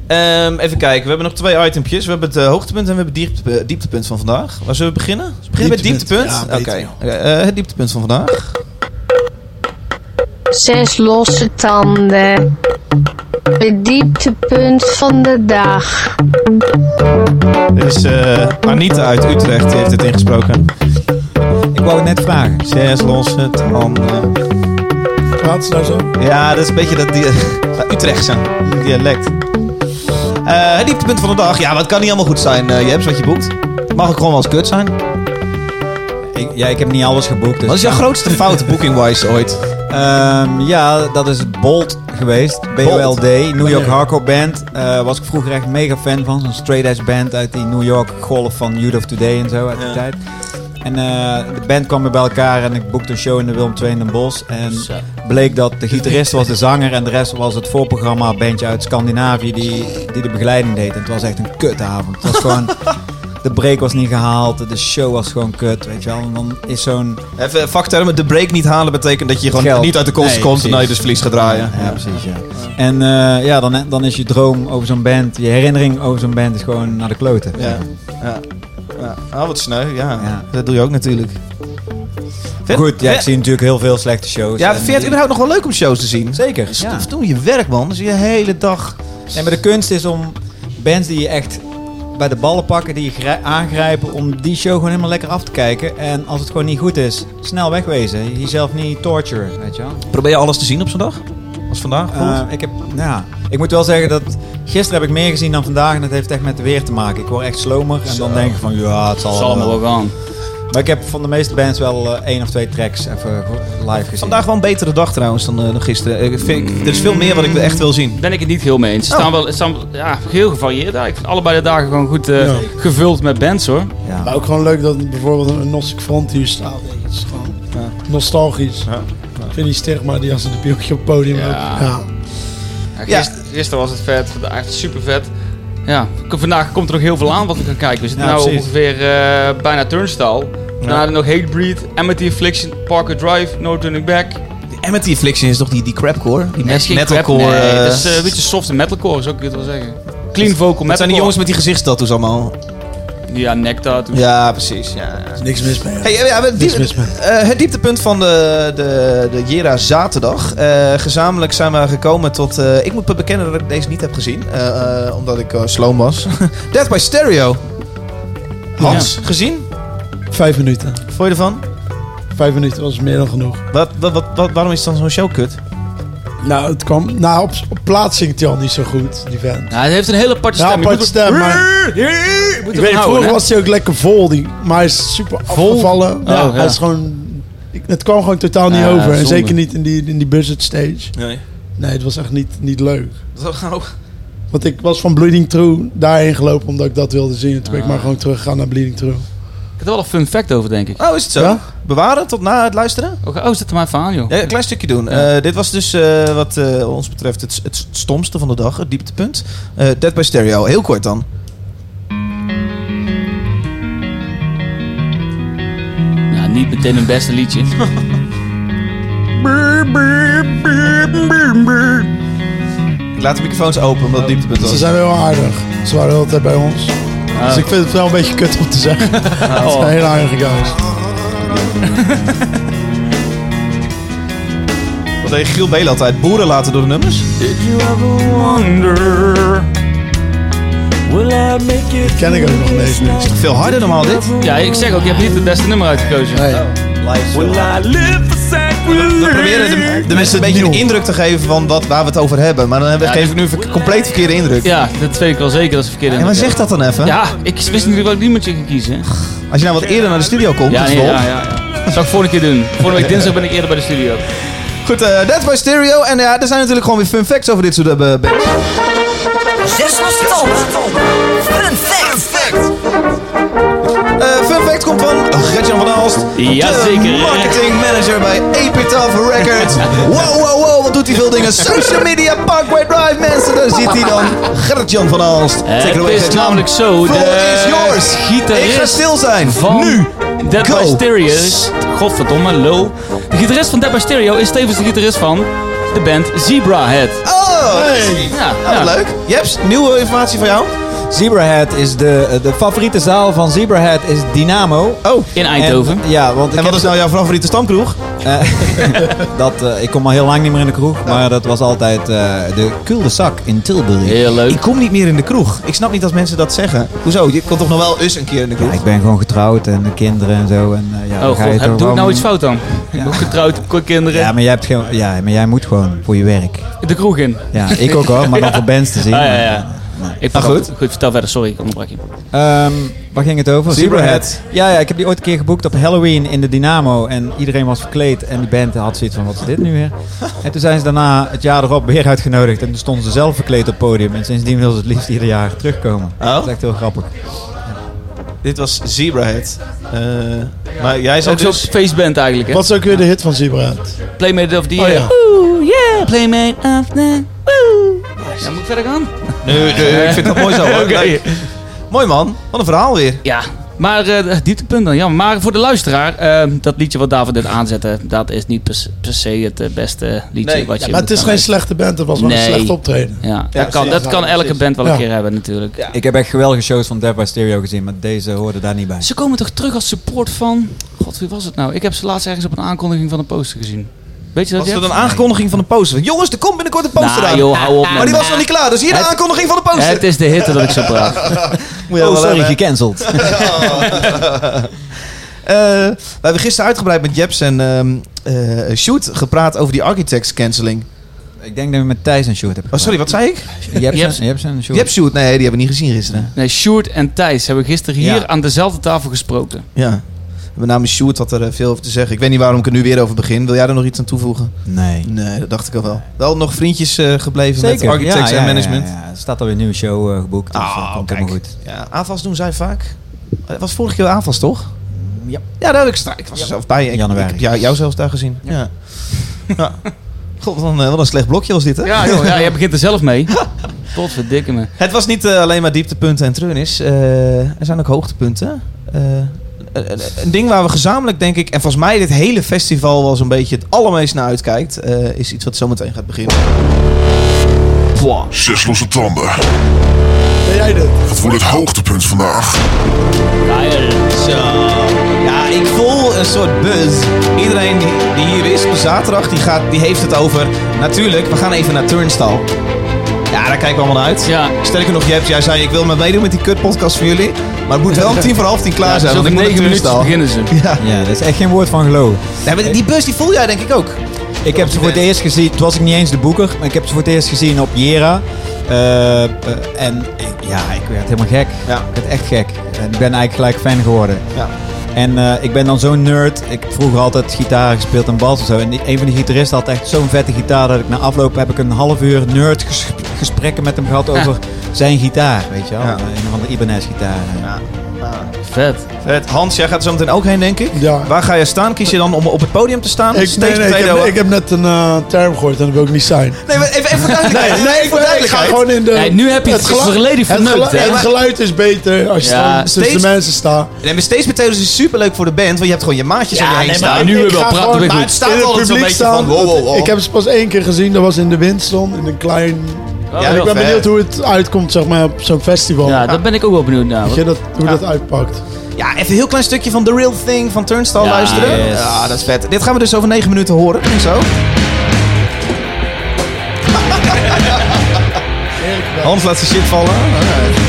Speaker 4: Ehm, even kijken, we hebben nog twee itempjes. We hebben het eh, hoogtepunt en we hebben het diepte- eh, dieptepunt van vandaag. Waar zullen we beginnen? Zullen we beginnen met
Speaker 1: Dieptepunt.
Speaker 4: dieptepunt?
Speaker 1: Ja,
Speaker 4: Oké,
Speaker 1: beter,
Speaker 4: Oké, eh, het dieptepunt van vandaag.
Speaker 10: Zes losse tanden. Het dieptepunt van de dag.
Speaker 4: Dit is eh, Anita uit Utrecht, die heeft het ingesproken.
Speaker 3: Ik wou het net vragen.
Speaker 4: Zes losse tanden.
Speaker 1: Praat ze nou zo?
Speaker 4: Ja, dat is een beetje dat die, eh, Utrecht zijn dialect. Eh, het dieptepunt van de dag. Ja, wat kan niet allemaal goed zijn, eh Jeps, wat je boekt. Mag ook gewoon wel eens kut zijn.
Speaker 3: Ik, ja, ik heb niet alles geboekt. Dus
Speaker 4: Wat is jouw grootste fout booking-wise ooit?
Speaker 3: Ehm, ja, dat is Bolt geweest. BOLD, New York Hardcore Band. Eh, was ik vroeger echt mega fan van. Zo'n straight edge band uit die New York golf van Youth of Today en zo uit die tijd. En eh, de band kwam weer bij elkaar en ik boekte een show in de Willem II in Den Bosch. En bleek dat de gitarist was de zanger en de rest was het voorprogramma bandje uit Scandinavië die, die de begeleiding deed. En het was echt een kutavond. Het was gewoon... De break was niet gehaald, de show was gewoon kut, weet je wel. En dan is zo'n...
Speaker 4: Even vaktermen, de break niet halen betekent dat je gewoon
Speaker 3: Geld.
Speaker 4: niet uit de kosten
Speaker 3: Nee,
Speaker 4: komt en dat je
Speaker 3: precies.
Speaker 4: dus verlies gaat draaien.
Speaker 3: Ja, precies, ja. En eh, ja, dan, dan is je droom over zo'n band, je herinnering over zo'n band is gewoon naar de kloten.
Speaker 4: Ja. ja. ja. Ah, wat sneu, ja.
Speaker 3: Ja.
Speaker 4: Dat doe je ook natuurlijk.
Speaker 3: Maar
Speaker 4: Vind-
Speaker 3: Goed, ja, ik
Speaker 4: vind-
Speaker 3: zie natuurlijk heel veel slechte shows.
Speaker 4: Ja,
Speaker 3: en-
Speaker 4: vind je het überhaupt nog wel leuk om shows te zien?
Speaker 3: Zeker,
Speaker 4: Dus
Speaker 3: ja.
Speaker 4: Of doe je werk, man. Dus je hele dag...
Speaker 3: Nee, maar de kunst is om bands die je echt bij de ballen pakken, die je grij- aangrijpen, om die show gewoon helemaal lekker af te kijken. En als het gewoon niet goed is, snel wegwezen. Jezelf niet torturen, weet je wel.
Speaker 4: Probeer je alles te zien op zo'n dag? Als vandaag bijvoorbeeld?
Speaker 3: Eh, ik, heb, nou, ja, ik moet wel zeggen dat gisteren heb ik meer gezien dan vandaag en dat heeft echt met het weer te maken. Ik word echt slomer en dan denk ik van ja, het zal,
Speaker 2: zal allemaal
Speaker 3: wel.
Speaker 2: wel gaan.
Speaker 3: Maar ik heb van de meeste bands wel eh, één of twee tracks even live gezien.
Speaker 4: Vandaag wel een betere dag trouwens dan, eh, dan gisteren. Ik vind, ik- er is veel meer wat ik echt wil zien.
Speaker 2: Ben ik het niet heel mee eens. Ze
Speaker 4: Oh.
Speaker 2: staan wel ze staan, ja, heel gevarieerd. daar. Ik vind allebei de dagen gewoon goed eh,
Speaker 1: Ja.
Speaker 2: gevuld met bands hoor.
Speaker 3: Ja.
Speaker 1: Maar ook gewoon leuk dat bijvoorbeeld een Nostik Front hier staat. Het is gewoon nostalgisch. Ik vind die stigma die als een debieltje op het podium
Speaker 2: Ja.
Speaker 1: loopt. Ja.
Speaker 2: Ja, gist- Gisteren was het vet, vandaag is het super vet. Ja, k- vandaag komt er nog heel veel aan wat we gaan kijken. We zitten
Speaker 3: Ja,
Speaker 2: nu
Speaker 3: precies.
Speaker 2: ongeveer eh, bijna Turnstile. Daarna nog Hatebreed, Amity Affliction, Parker Drive, No Turning Back.
Speaker 4: Amity Affliction is toch die, die crapcore? Die
Speaker 2: Nee, is
Speaker 4: met,
Speaker 2: geen
Speaker 4: metalcore.
Speaker 2: crap, Nee,
Speaker 4: eh,
Speaker 2: dat is eh, een beetje softe metalcore, zou ik het wel zeggen. Clean vocal
Speaker 4: dat zijn die
Speaker 2: metalcore.
Speaker 4: jongens met die gezichtstattoos allemaal.
Speaker 2: Ja, nectar.
Speaker 4: Ja, precies. Ja, ja.
Speaker 1: Niks mis mee.
Speaker 4: Hey, eh, ja, we- die-
Speaker 1: Niks mis mee.
Speaker 4: eh, het dieptepunt van de, de, de Jera zaterdag. Eh, gezamenlijk zijn we gekomen tot... eh, ik moet bekennen dat ik deze niet heb gezien. eh, eh, omdat ik eh, sloom was. Death by Stereo. Hans, gezien?
Speaker 1: Vijf minuten.
Speaker 4: Vond je ervan?
Speaker 1: Vijf minuten was meer dan genoeg.
Speaker 4: Wat, wat, wat, wat- waarom is dan zo'n show kut?
Speaker 1: Nou, het kwam, nou op, op plaats zingt hij al niet zo goed, die vent.
Speaker 2: Nou, het heeft een hele aparte
Speaker 1: Ja,
Speaker 2: stem. Je
Speaker 1: aparte
Speaker 2: moet er-
Speaker 1: stem, maar-
Speaker 2: Je moet
Speaker 1: Ik
Speaker 2: ervan
Speaker 1: weet,
Speaker 2: houden,
Speaker 1: vroeger
Speaker 2: hè? Oh,
Speaker 1: was hij ook lekker vol, die, maar hij is super afgevallen. ja,
Speaker 2: ja.
Speaker 1: Hij is gewoon, ik- het kwam gewoon totaal niet
Speaker 2: Ja,
Speaker 1: over. En
Speaker 2: zonde.
Speaker 1: zeker niet in die, in die buzzard stage.
Speaker 4: Nee.
Speaker 1: Nee, het was echt niet, niet leuk.
Speaker 4: Dat nou...
Speaker 1: Want ik was van Bleeding True daarheen gelopen omdat ik dat wilde zien. En toen ben ik
Speaker 2: Ah.
Speaker 1: maar gewoon teruggegaan naar Bleeding True.
Speaker 2: Ik had er wel een fun fact over, denk ik.
Speaker 4: Oh, is het zo?
Speaker 1: Ja?
Speaker 4: Bewaren tot na het luisteren?
Speaker 2: Oh, oh zet er maar even aan, joh.
Speaker 4: Ja, een klein stukje doen. Eh, dit was dus eh, wat eh, ons betreft het, het stomste van de dag, het dieptepunt. Eh Dead by Stereo, heel kort dan.
Speaker 2: Ja, niet meteen een beste liedje.
Speaker 4: Ik laat de microfoons open, omdat het dieptepunt was.
Speaker 1: Ze zijn heel aardig. Ze waren altijd bij ons.
Speaker 2: Ah.
Speaker 1: Dus ik vind het wel een beetje kut om te zeggen. Het
Speaker 2: Oh.
Speaker 1: zijn heel aardige guys.
Speaker 4: Wat deed Giel Beel altijd? Boeren laten door de nummers?
Speaker 2: Did you ever wonder?
Speaker 1: Ken ik ook nog ineens niet.
Speaker 4: Veel harder normaal dit.
Speaker 2: Ja, ik zeg ook, je hebt niet het beste nummer uitgekozen.
Speaker 1: Nee.
Speaker 4: We proberen de, de mensen een beetje een indruk te geven van wat, waar we het over hebben. Maar dan hebben,
Speaker 2: Ja,
Speaker 4: geef ik nu een ver- compleet verkeerde indruk.
Speaker 2: Ja, dat weet ik wel zeker, dat is verkeerd.
Speaker 4: En wat zegt dat dan even?
Speaker 2: Ja, ik wist natuurlijk wel niet met je ging kiezen. hè.
Speaker 4: Als je nou wat eerder naar de studio komt,
Speaker 2: Ja,
Speaker 4: dat is
Speaker 2: nee,
Speaker 4: wel.
Speaker 2: ja, ja, ja. Dat zou ik volgende keer doen. Volgende week dinsdag ben ik eerder bij de studio.
Speaker 4: Goed, eh Death by Stereo. En ja, er zijn natuurlijk gewoon weer fun facts over dit soort eh, bands.
Speaker 8: Zes verstanden. Fun fact.
Speaker 4: Eh, fun fact komt van Gertjan van Alst.
Speaker 2: Jazeker.
Speaker 4: De marketing manager bij Epitaph Records. Wow, wow, wow. Wat doet hij veel dingen. Social media, Parkway Drive, mensen. Daar zit hij dan. Gertjan van Alst. Take it
Speaker 2: Het
Speaker 4: away,
Speaker 2: is
Speaker 4: Gertjan.
Speaker 2: namelijk zo,
Speaker 4: Floor
Speaker 2: de
Speaker 4: is yours.
Speaker 2: gitarist
Speaker 4: Ik ga stil zijn.
Speaker 2: van
Speaker 4: Nu.
Speaker 2: Dead
Speaker 4: Go.
Speaker 2: by Stereo. Godverdomme, low. De gitarist van Dead by Stereo is tevens de gitarist van de band Zebrahead.
Speaker 4: Oh,
Speaker 2: Ja,
Speaker 4: nou,
Speaker 2: ja.
Speaker 4: wat leuk. Jeps, nieuwe informatie van jou.
Speaker 3: Zebrahead is de, eh, de favoriete zaal van Zebrahead is Dynamo.
Speaker 4: Oh.
Speaker 2: In Eindhoven.
Speaker 3: En, ja, want ik
Speaker 4: En wat
Speaker 3: heb- Eh,
Speaker 4: is nou jouw favoriete stamkroeg?
Speaker 3: dat, eh, ik kom al heel lang niet meer in de
Speaker 4: Nou.
Speaker 3: kroeg, maar dat was altijd eh, de cul-de-sac in Tilburg.
Speaker 2: Heel leuk.
Speaker 4: Ik kom niet meer in de kroeg. Ik snap niet dat mensen dat zeggen. Hoezo? Je komt toch nog wel eens een keer in de kroeg?
Speaker 3: Ja, ik ben gewoon getrouwd en de kinderen en zo. En, eh, ja, dan
Speaker 2: Oh
Speaker 3: ga je
Speaker 2: god,
Speaker 3: toch
Speaker 2: heb, doe ik nou
Speaker 3: gewoon-
Speaker 2: iets fout dan? Ik ben getrouwd, kort kinderen,
Speaker 3: Ja maar, jij hebt geen, ja, maar jij moet gewoon voor je werk.
Speaker 2: de kroeg in. Ah,
Speaker 3: Ja, ik ook hoor, maar dan voor bands te zien.
Speaker 2: ja, ja. Ik
Speaker 4: Maar
Speaker 2: vergat-
Speaker 4: Ah, goed.
Speaker 2: Goed, vertel verder, sorry, ik onderbrak je.
Speaker 3: Ehm, waar ging het over?
Speaker 4: Zebrahead.
Speaker 3: Ja, ja, ik heb die ooit een keer geboekt op Halloween in de Dynamo. En iedereen was verkleed en die band had zoiets van, wat is dit nu weer? En toen zijn ze daarna het jaar erop weer uitgenodigd. En toen stonden ze zelf verkleed op het podium. En sindsdien wilden ze het liefst ieder jaar terugkomen.
Speaker 4: Oh.
Speaker 3: Dat is echt heel grappig.
Speaker 4: Dit was Zebrahead. Eh maar jij zei
Speaker 2: Ook zo'n
Speaker 4: dus...
Speaker 2: feestband eigenlijk, hè?
Speaker 1: Wat is ook weer de hit van Zebrahead?
Speaker 2: Playmate of the
Speaker 1: Oh
Speaker 2: Year.
Speaker 1: ja.
Speaker 2: Oeh, yeah. Playmate of the... Oeh. Ja, moet ik verder gaan?
Speaker 4: Nee, nee, Eh, ik vind dat mooi zo. hoor.
Speaker 2: Oké.
Speaker 4: Leuk. Mooi man. Wat een verhaal weer.
Speaker 2: Ja, maar eh, het dieptepunt dan, jammer. Maar voor de luisteraar, eh, dat liedje wat David net aanzette, dat is niet per, se- per se het eh, beste liedje
Speaker 4: Nee,
Speaker 2: wat je
Speaker 1: Maar het
Speaker 2: moet
Speaker 1: is
Speaker 2: gaan
Speaker 1: geen slechte band, het was wel
Speaker 2: Nee.
Speaker 1: een slecht optreden.
Speaker 2: luisteren. Ja,
Speaker 4: Ja,
Speaker 2: dat, kan, dat
Speaker 4: precies.
Speaker 2: kan
Speaker 4: Ja,
Speaker 2: elke
Speaker 4: precies.
Speaker 2: band wel een
Speaker 1: Ja.
Speaker 2: keer hebben natuurlijk.
Speaker 3: Ik heb echt geweldige shows van Death by Stereo gezien, maar deze hoorde daar niet bij.
Speaker 4: Dus
Speaker 2: Ze komen toch terug als support van... God, wie was het nou? Ik heb ze laatst ergens op een aankondiging van een poster gezien. Weet je dat,
Speaker 4: Was er
Speaker 2: Jeff?
Speaker 4: een aankondiging van de poster? Jongens, er komt binnenkort een poster
Speaker 2: Nou,
Speaker 4: aan.
Speaker 2: joh, hou op
Speaker 4: Maar
Speaker 2: man.
Speaker 4: die was nog niet klaar, dus hier de
Speaker 2: Het-
Speaker 4: aankondiging van de poster.
Speaker 2: Het is de hitte dat ik zo praat.
Speaker 4: Moet je
Speaker 3: Oh,
Speaker 4: wel
Speaker 3: sorry,
Speaker 4: hebben,
Speaker 3: gecanceld.
Speaker 4: hè? Eh, we hebben gisteren uitgebreid met Jeps en ehm eh, Sjoerd gepraat over die architects cancelling.
Speaker 3: ik denk dat we met Thijs en Sjoerd hebben
Speaker 4: Oh, sorry, wat zei ik?
Speaker 3: Jepsen,
Speaker 2: Jeps-
Speaker 3: Jepsen en Sjoerd.
Speaker 4: Jeps Sjoerd, nee, die hebben we niet gezien gisteren.
Speaker 2: Nee, Sjoerd en Thijs hebben gisteren hier
Speaker 3: Ja.
Speaker 2: aan dezelfde tafel gesproken.
Speaker 4: Ja. Met name Sjoerd had er eh, veel over te zeggen. Ik weet niet waarom ik er nu weer over begin. Wil jij er nog iets aan toevoegen?
Speaker 3: Nee.
Speaker 4: Nee, dat dacht ik al wel. Wel nog vriendjes eh, gebleven met architects
Speaker 3: Ja,
Speaker 4: en
Speaker 3: ja, ja,
Speaker 4: management.
Speaker 3: ja. Er staat alweer een nieuwe show eh, geboekt, dus
Speaker 4: Ah,
Speaker 3: dat komt
Speaker 4: kijk.
Speaker 3: helemaal goed.
Speaker 4: Ja, aanvals doen zij vaak. Het was vorige keer aanvals, toch?
Speaker 3: Ja.
Speaker 4: Ja, daar heb ik straks. Ik was er zelf bij. Ik,
Speaker 3: Januari.
Speaker 4: Ik heb jou, jou zelfs daar gezien. Ja. ja. God, wat een, eh, wat een slecht blokje was dit, hè?
Speaker 2: Ja, joh, ja, jij begint er zelf mee. Potverdikke me.
Speaker 4: Het was niet eh, alleen maar dieptepunten en treurnis. Eh, er zijn ook hoogtepunten. Eh, eh, eh, een ding waar we gezamenlijk, denk ik... en volgens mij dit hele festival wel zo'n beetje het allermeest naar uitkijkt... eh, is iets wat zometeen gaat beginnen.
Speaker 9: Zes losse tanden.
Speaker 1: Ben jij dit?
Speaker 9: Het wordt het hoogtepunt vandaag.
Speaker 4: Zo. Ja, ik voel een soort buzz. Iedereen die, die hier is op zaterdag, die, gaat, die heeft het over... Natuurlijk, we gaan even naar Turnstile. Ja, daar kijken we allemaal naar uit.
Speaker 2: Ja.
Speaker 4: Sterker nog, Jeps, jij zei... ik wil me meedoen met die kutpodcast van jullie... maar het moet wel om tien voor half tien klaar
Speaker 2: Ja,
Speaker 4: zijn.
Speaker 2: dus
Speaker 4: want
Speaker 2: over
Speaker 4: ik moet
Speaker 2: negen
Speaker 4: naar
Speaker 2: minuten
Speaker 4: Turnstile.
Speaker 2: beginnen ze.
Speaker 4: Ja.
Speaker 3: Ja, dat is echt geen woord van geloof.
Speaker 4: Nee, maar die bus die voel jij denk ik ook.
Speaker 3: Ik heb ze voor het eerst gezien, toen was ik niet eens de boeker, maar ik heb ze voor het eerst gezien op Jera. Eh, eh, en ik- ja, ik werd helemaal gek.
Speaker 4: Ja.
Speaker 3: Ik werd echt gek. En ik ben eigenlijk gelijk fan geworden.
Speaker 4: Ja.
Speaker 3: En eh, ik ben dan zo'n nerd. Ik heb vroeger altijd gitaar gespeeld en bas en zo. En die- een van die gitaristen had echt zo'n vette gitaar dat ik na afloop heb ik een half uur nerd ges- gesprekken met hem gehad over zijn gitaar, weet je wel.
Speaker 4: Ja.
Speaker 3: Een van de Ibanez gitaar.
Speaker 2: Vet.
Speaker 4: Vet. Hans, jij gaat er zo meteen ook heen, denk ik.
Speaker 1: Ja.
Speaker 4: Waar ga je staan? Kies je dan om op het podium te staan?
Speaker 1: Ik, nee,
Speaker 4: Steeds
Speaker 1: nee, ik,
Speaker 4: tweede-
Speaker 1: heb, ik heb net een eh, term gehoord en dat wil ik niet zijn.
Speaker 4: Nee, maar even, even voor duidelijkheid.
Speaker 1: Nee, nee, ik,
Speaker 4: Even voor
Speaker 1: ik ga
Speaker 4: duidelijkheid.
Speaker 1: gewoon in de...
Speaker 2: Nee, nu heb je het
Speaker 1: gelu-
Speaker 2: volledig
Speaker 1: het,
Speaker 2: verneukt,
Speaker 1: gelu-
Speaker 2: hè?
Speaker 1: het geluid is beter als je
Speaker 2: Ja,
Speaker 1: gewoon tussen
Speaker 4: steeds-
Speaker 1: de mensen staat.
Speaker 4: Nee, maar steeds meteen is superleuk voor de band, want je hebt gewoon je maatjes om je heen staan.
Speaker 2: Nou, nu
Speaker 1: ik
Speaker 2: hebben we
Speaker 1: ga
Speaker 2: praten
Speaker 1: gewoon
Speaker 2: weer
Speaker 1: maar
Speaker 2: goed.
Speaker 1: het
Speaker 4: In
Speaker 1: staat
Speaker 4: het
Speaker 1: altijd zo'n
Speaker 4: publiek
Speaker 1: beetje
Speaker 4: staan.
Speaker 1: van,
Speaker 4: Wow, wow, wow.
Speaker 1: Ik heb ze pas één keer gezien, dat was in de Winston, in een klein...
Speaker 2: Oh,
Speaker 1: Ja, ik
Speaker 2: heel
Speaker 1: ben
Speaker 2: vet.
Speaker 1: benieuwd hoe het uitkomt zeg maar, op zo'n festival.
Speaker 2: Ja, daar ben ik ook wel benieuwd naar.
Speaker 1: Weet je, dat, hoe dat uitpakt.
Speaker 4: Ja, even een heel klein stukje van The Real Thing van Turnstile
Speaker 2: Ja,
Speaker 4: luisteren.
Speaker 2: yes.
Speaker 4: Ja, dat is vet. Dit gaan we dus over 9 minuten horen. Klinkt Zo. Hans laat zijn shit vallen. Alright.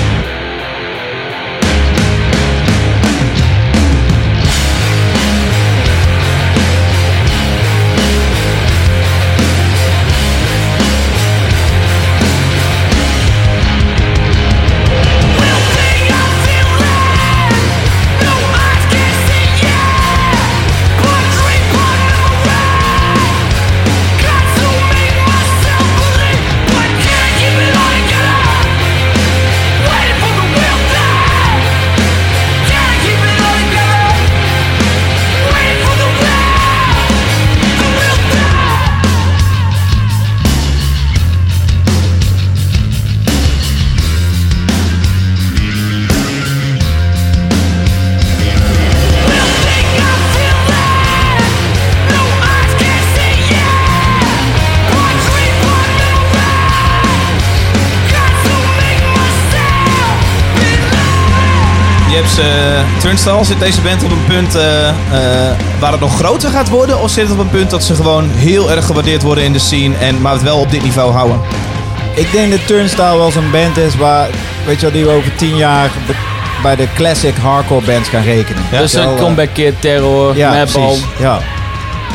Speaker 4: Je hebt eh, Turnstile. Zit deze band op een punt eh, eh, waar het nog groter gaat worden? Of zit het op een punt dat ze gewoon heel erg gewaardeerd worden in de scene, en, maar het wel op dit niveau houden?
Speaker 3: Ik denk dat Turnstile wel zo'n band is waar, weet je wel, die we over tien jaar be- bij de classic hardcore bands gaan rekenen.
Speaker 4: Ja.
Speaker 2: Dus een comeback kid, terror,
Speaker 3: Ja,
Speaker 2: madball.
Speaker 3: precies. Ja.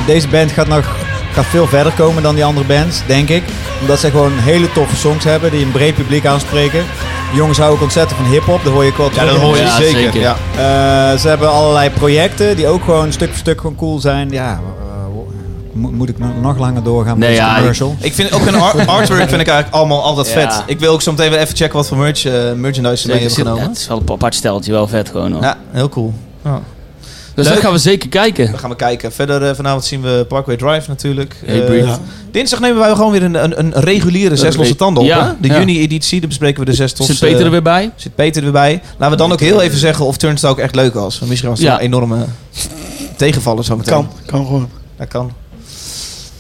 Speaker 3: Deze band gaat nog gaat veel verder komen dan die andere bands, denk ik. Omdat ze gewoon hele toffe songs hebben die een breed publiek aanspreken. De jongens houden ook ontzettend van hip-hop, dat hoor je ook wel terug in de
Speaker 2: hoor je
Speaker 3: muziek.
Speaker 2: Ja, zeker. zeker.
Speaker 4: Ja.
Speaker 3: Eh, ze hebben allerlei projecten die ook gewoon stuk voor stuk gewoon cool zijn. Ja, eh, mo- moet ik nog nog langer doorgaan met
Speaker 4: Nee,
Speaker 3: deze
Speaker 4: ja,
Speaker 3: commercial?
Speaker 4: Ik vind ook een ar- artwork vind ik eigenlijk allemaal altijd
Speaker 3: Ja.
Speaker 4: vet. Ik wil ook zo meteen weer even checken wat voor merch, eh, merchandise ze mee hebben
Speaker 2: Zeker,
Speaker 4: genomen.
Speaker 2: Het is wel een apart steltje, wel vet gewoon. Hoor.
Speaker 4: Ja, heel cool. Ja.
Speaker 2: Dus
Speaker 4: Leuk.
Speaker 2: dat gaan we zeker kijken.
Speaker 4: Dan gaan we kijken. Verder eh, vanavond zien we Parkway Drive natuurlijk.
Speaker 2: Hey,
Speaker 4: Eh,
Speaker 2: Breed.
Speaker 4: ja. Dinsdag nemen wij gewoon weer een, een, een reguliere zes losse tanden op.
Speaker 2: Ja,
Speaker 4: hè? De
Speaker 2: ja.
Speaker 4: juni-editie, dan bespreken we de zes tot... eh,
Speaker 2: Zit Peter er weer bij?
Speaker 4: Zit Peter er weer bij. Laten we dan ook heel even zeggen of Turnstile ook echt leuk was. Want Misschien was het
Speaker 2: Ja.
Speaker 4: een enorme tegenvaller zo meteen.
Speaker 1: Kan, kan gewoon.
Speaker 4: Dat kan.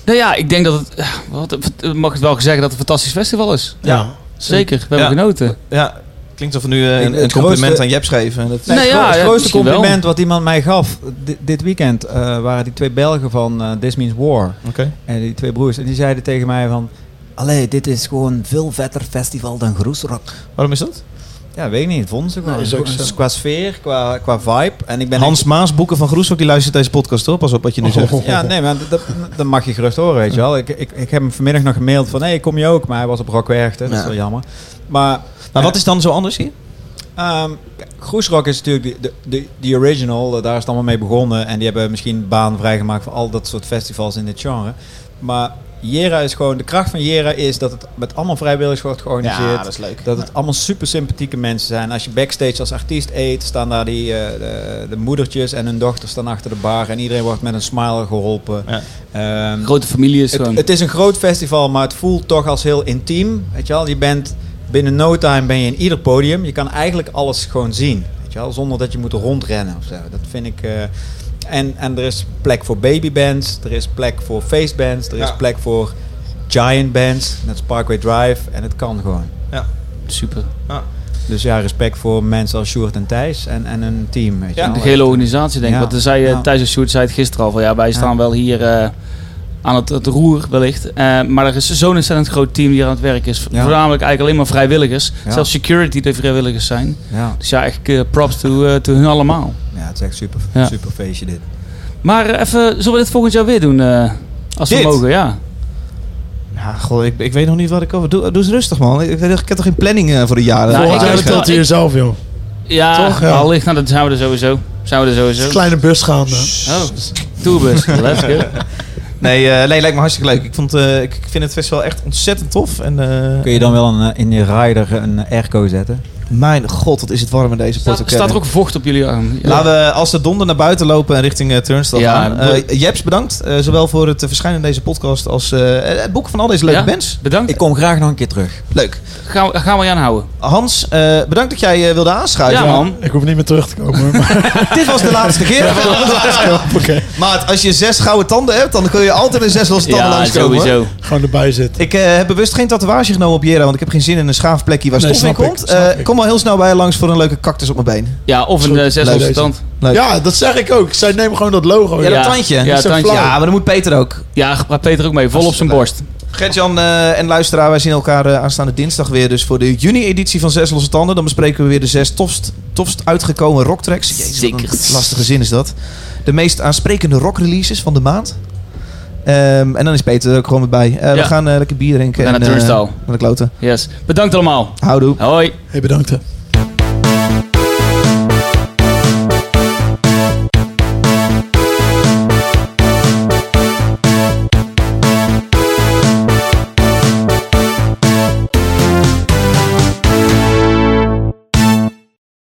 Speaker 2: Nou ja, ik denk dat het. eh, Wat, eh, mag het wel gezegd dat het een fantastisch festival is?
Speaker 4: Ja.
Speaker 2: Zeker, we hebben
Speaker 4: Ja.
Speaker 2: genoten.
Speaker 4: Ja, klinkt alsof we nu eh,
Speaker 3: Ik-
Speaker 4: een,
Speaker 3: het
Speaker 4: een compliment
Speaker 3: grootste-
Speaker 4: aan Jeps geven. Dat,
Speaker 3: Nee,
Speaker 2: Nou
Speaker 3: het
Speaker 2: ja,
Speaker 3: gro- het
Speaker 2: ja,
Speaker 3: grootste
Speaker 2: misschien wel.
Speaker 3: compliment wat iemand mij gaf di- dit weekend eh, waren die twee Belgen van eh This Means War.
Speaker 4: Oké.
Speaker 3: En die twee broers. En die zeiden tegen mij van... Allee, dit is gewoon een veel vetter festival dan Groesrock.
Speaker 4: Waarom is dat?
Speaker 3: Ja, weet ik niet. Vonden ze gewoon.
Speaker 1: Nee, is ook zo.
Speaker 3: Dus qua sfeer, qua, qua vibe. En ik Oh, ben
Speaker 4: Hans Maas, Boeken van Groeshoek, die luistert deze podcast hoor. Pas op wat je nu zegt.
Speaker 3: Ja, nee, maar dat, dat mag je gerust horen, weet je wel. Ik, ik, ik heb hem vanmiddag nog gemaild van, hé, hey, kom je ook? Maar hij was op Rockwerchter, dat is
Speaker 4: Ja.
Speaker 3: wel jammer. Maar, eh,
Speaker 4: Maar Nou, wat is dan zo anders hier?
Speaker 3: ehm Groesrock is natuurlijk de, de, de, de original, eh, daar is het allemaal mee begonnen. En die hebben misschien baan vrijgemaakt voor al dat soort festivals in dit genre. Maar Jera is gewoon, de kracht van Jera is dat het met allemaal vrijwilligers wordt georganiseerd.
Speaker 4: dat is leuk.
Speaker 3: Dat het allemaal super sympathieke mensen zijn. Als je backstage als artiest eet, staan daar die, eh, de, de moedertjes en hun dochters staan achter de bar. En iedereen wordt met een smile geholpen.
Speaker 4: Ja.
Speaker 3: Ehm,
Speaker 2: Grote familie is
Speaker 3: het,
Speaker 2: gewoon.
Speaker 3: het is een groot festival, maar het voelt toch als heel intiem. Weet je wel, je bent binnen no time ben je in ieder podium. Je kan eigenlijk alles gewoon zien. Weet je wel, zonder dat je moet rondrennen of zo. Dat vind ik. eh, en, en er is plek voor babybands, er is plek voor facebands, er is
Speaker 4: Ja.
Speaker 3: plek voor giant bands. Net als Parkway Drive. En het kan gewoon.
Speaker 4: Ja.
Speaker 2: Super.
Speaker 4: Ja.
Speaker 3: Dus ja, respect voor mensen als Sjoerd en Thijs en, en hun team. Weet je
Speaker 4: Ja,
Speaker 3: wel.
Speaker 2: De hele organisatie, denk ik.
Speaker 3: Ja.
Speaker 2: Want er zei eh,
Speaker 3: Ja.
Speaker 2: Thijs en Sjoerd zei het gisteren al van ja, wij staan wel hier eh, aan het, het roer wellicht. Eh, maar er is zo'n ontzettend groot team die hier aan het werk is.
Speaker 3: Ja.
Speaker 2: Voornamelijk eigenlijk alleen maar vrijwilligers.
Speaker 3: Ja.
Speaker 2: Zelfs security die vrijwilligers zijn.
Speaker 3: ja.
Speaker 2: Dus ja, echt eh, props to, eh, to hun allemaal.
Speaker 3: ja, het is echt super,
Speaker 2: Ja.
Speaker 3: super feestje dit.
Speaker 2: Maar eh, even, zullen we dit volgend jaar weer doen? eh, als
Speaker 4: Dit?
Speaker 2: we mogen, ja.
Speaker 4: Ja, goh, ik, ik weet nog niet wat ik over... Doe, doe eens rustig, man. Ik, ik heb toch geen planning eh, voor de jaren?
Speaker 2: Nou,
Speaker 4: Volgend jaar
Speaker 2: ik-
Speaker 1: Jij
Speaker 4: is het-
Speaker 1: vertelt hier zelf, joh.
Speaker 2: Ja,
Speaker 1: Toch, ja.
Speaker 2: allicht. Nou, dat zijn we er sowieso. Zijn we er sowieso.
Speaker 1: Kleine bus gaande.
Speaker 2: Oh, tourbus. Let's go.
Speaker 4: Nee, eh, nee, lijkt me hartstikke leuk. Ik, vond, eh, ik, ik vind het festival echt ontzettend tof. En, eh,
Speaker 3: Kun je dan wel een, eh, in je rider een airco zetten?
Speaker 4: Mijn god, wat is het warm in deze
Speaker 2: Staat,
Speaker 4: podcast.
Speaker 2: staat er ook vocht op jullie arm? Ja.
Speaker 4: Laten we als de donder naar buiten lopen en richting eh Turnstile
Speaker 2: Ja,
Speaker 4: gaan. Eh, Jeps, bedankt. eh, zowel voor het eh, verschijnen in deze podcast als eh, het boek van al deze leuke
Speaker 2: Ja?
Speaker 4: bands.
Speaker 2: Bedankt.
Speaker 3: Ik kom graag nog een keer terug.
Speaker 4: Leuk.
Speaker 2: Gaan, we- gaan we je aanhouden.
Speaker 4: Hans, eh, bedankt dat jij eh, wilde aanschuiven.
Speaker 2: Ja, man.
Speaker 1: Ik hoef niet meer terug te komen. hoor, Maar,
Speaker 4: Dit was de laatste keer.
Speaker 1: Hoppakee.
Speaker 4: Maat, als je zes gouden tanden hebt, dan kun je altijd een zes losse tanden
Speaker 2: Ja,
Speaker 4: langskomen. hoor.
Speaker 2: sowieso.
Speaker 1: Gewoon erbij zitten.
Speaker 4: Ik eh, heb bewust geen tatoeage genomen op Jera, want ik heb geen zin in een schaaf plekje waar
Speaker 1: Nee,
Speaker 4: stof in
Speaker 1: snap ik,
Speaker 4: komt.
Speaker 1: snap
Speaker 4: Eh,
Speaker 1: ik.
Speaker 4: kom wel heel snel bij je langs voor een leuke cactus op mijn been.
Speaker 2: Ja, of een
Speaker 1: Goed.
Speaker 2: eh, zes op
Speaker 1: Leuk.
Speaker 2: stand.
Speaker 4: Leuk.
Speaker 1: Ja, dat zeg ik ook. Zij nemen gewoon dat logo.
Speaker 4: Ja,
Speaker 1: joh.
Speaker 4: dat tandje.
Speaker 2: Ja,
Speaker 4: Dat is zo
Speaker 2: tandje.
Speaker 4: flauw. ja, maar dan moet Peter ook.
Speaker 2: Ja, gebruik Peter ook mee. Vol op zijn borst.
Speaker 4: Gert-Jan eh, en luisteraar, wij zien elkaar eh, aanstaande dinsdag weer. Dus voor de juni-editie van Zes Losse Tanden. Dan bespreken we weer de zes tofst, tofst uitgekomen rocktracks. Jezus, wat een
Speaker 2: Zeker.
Speaker 4: lastige zin is dat. De meest aansprekende rockreleases van de maand. Ehm, en dan is Peter er ook gewoon weer bij. Eh, We
Speaker 2: Ja.
Speaker 4: gaan eh, lekker bier drinken.
Speaker 2: We gaan
Speaker 4: en,
Speaker 2: naar
Speaker 4: eh,
Speaker 2: Turnstile.
Speaker 4: naar de kloten.
Speaker 2: Yes. Bedankt allemaal.
Speaker 4: Houdoe.
Speaker 2: Hoi.
Speaker 1: Hey, bedankt. hè.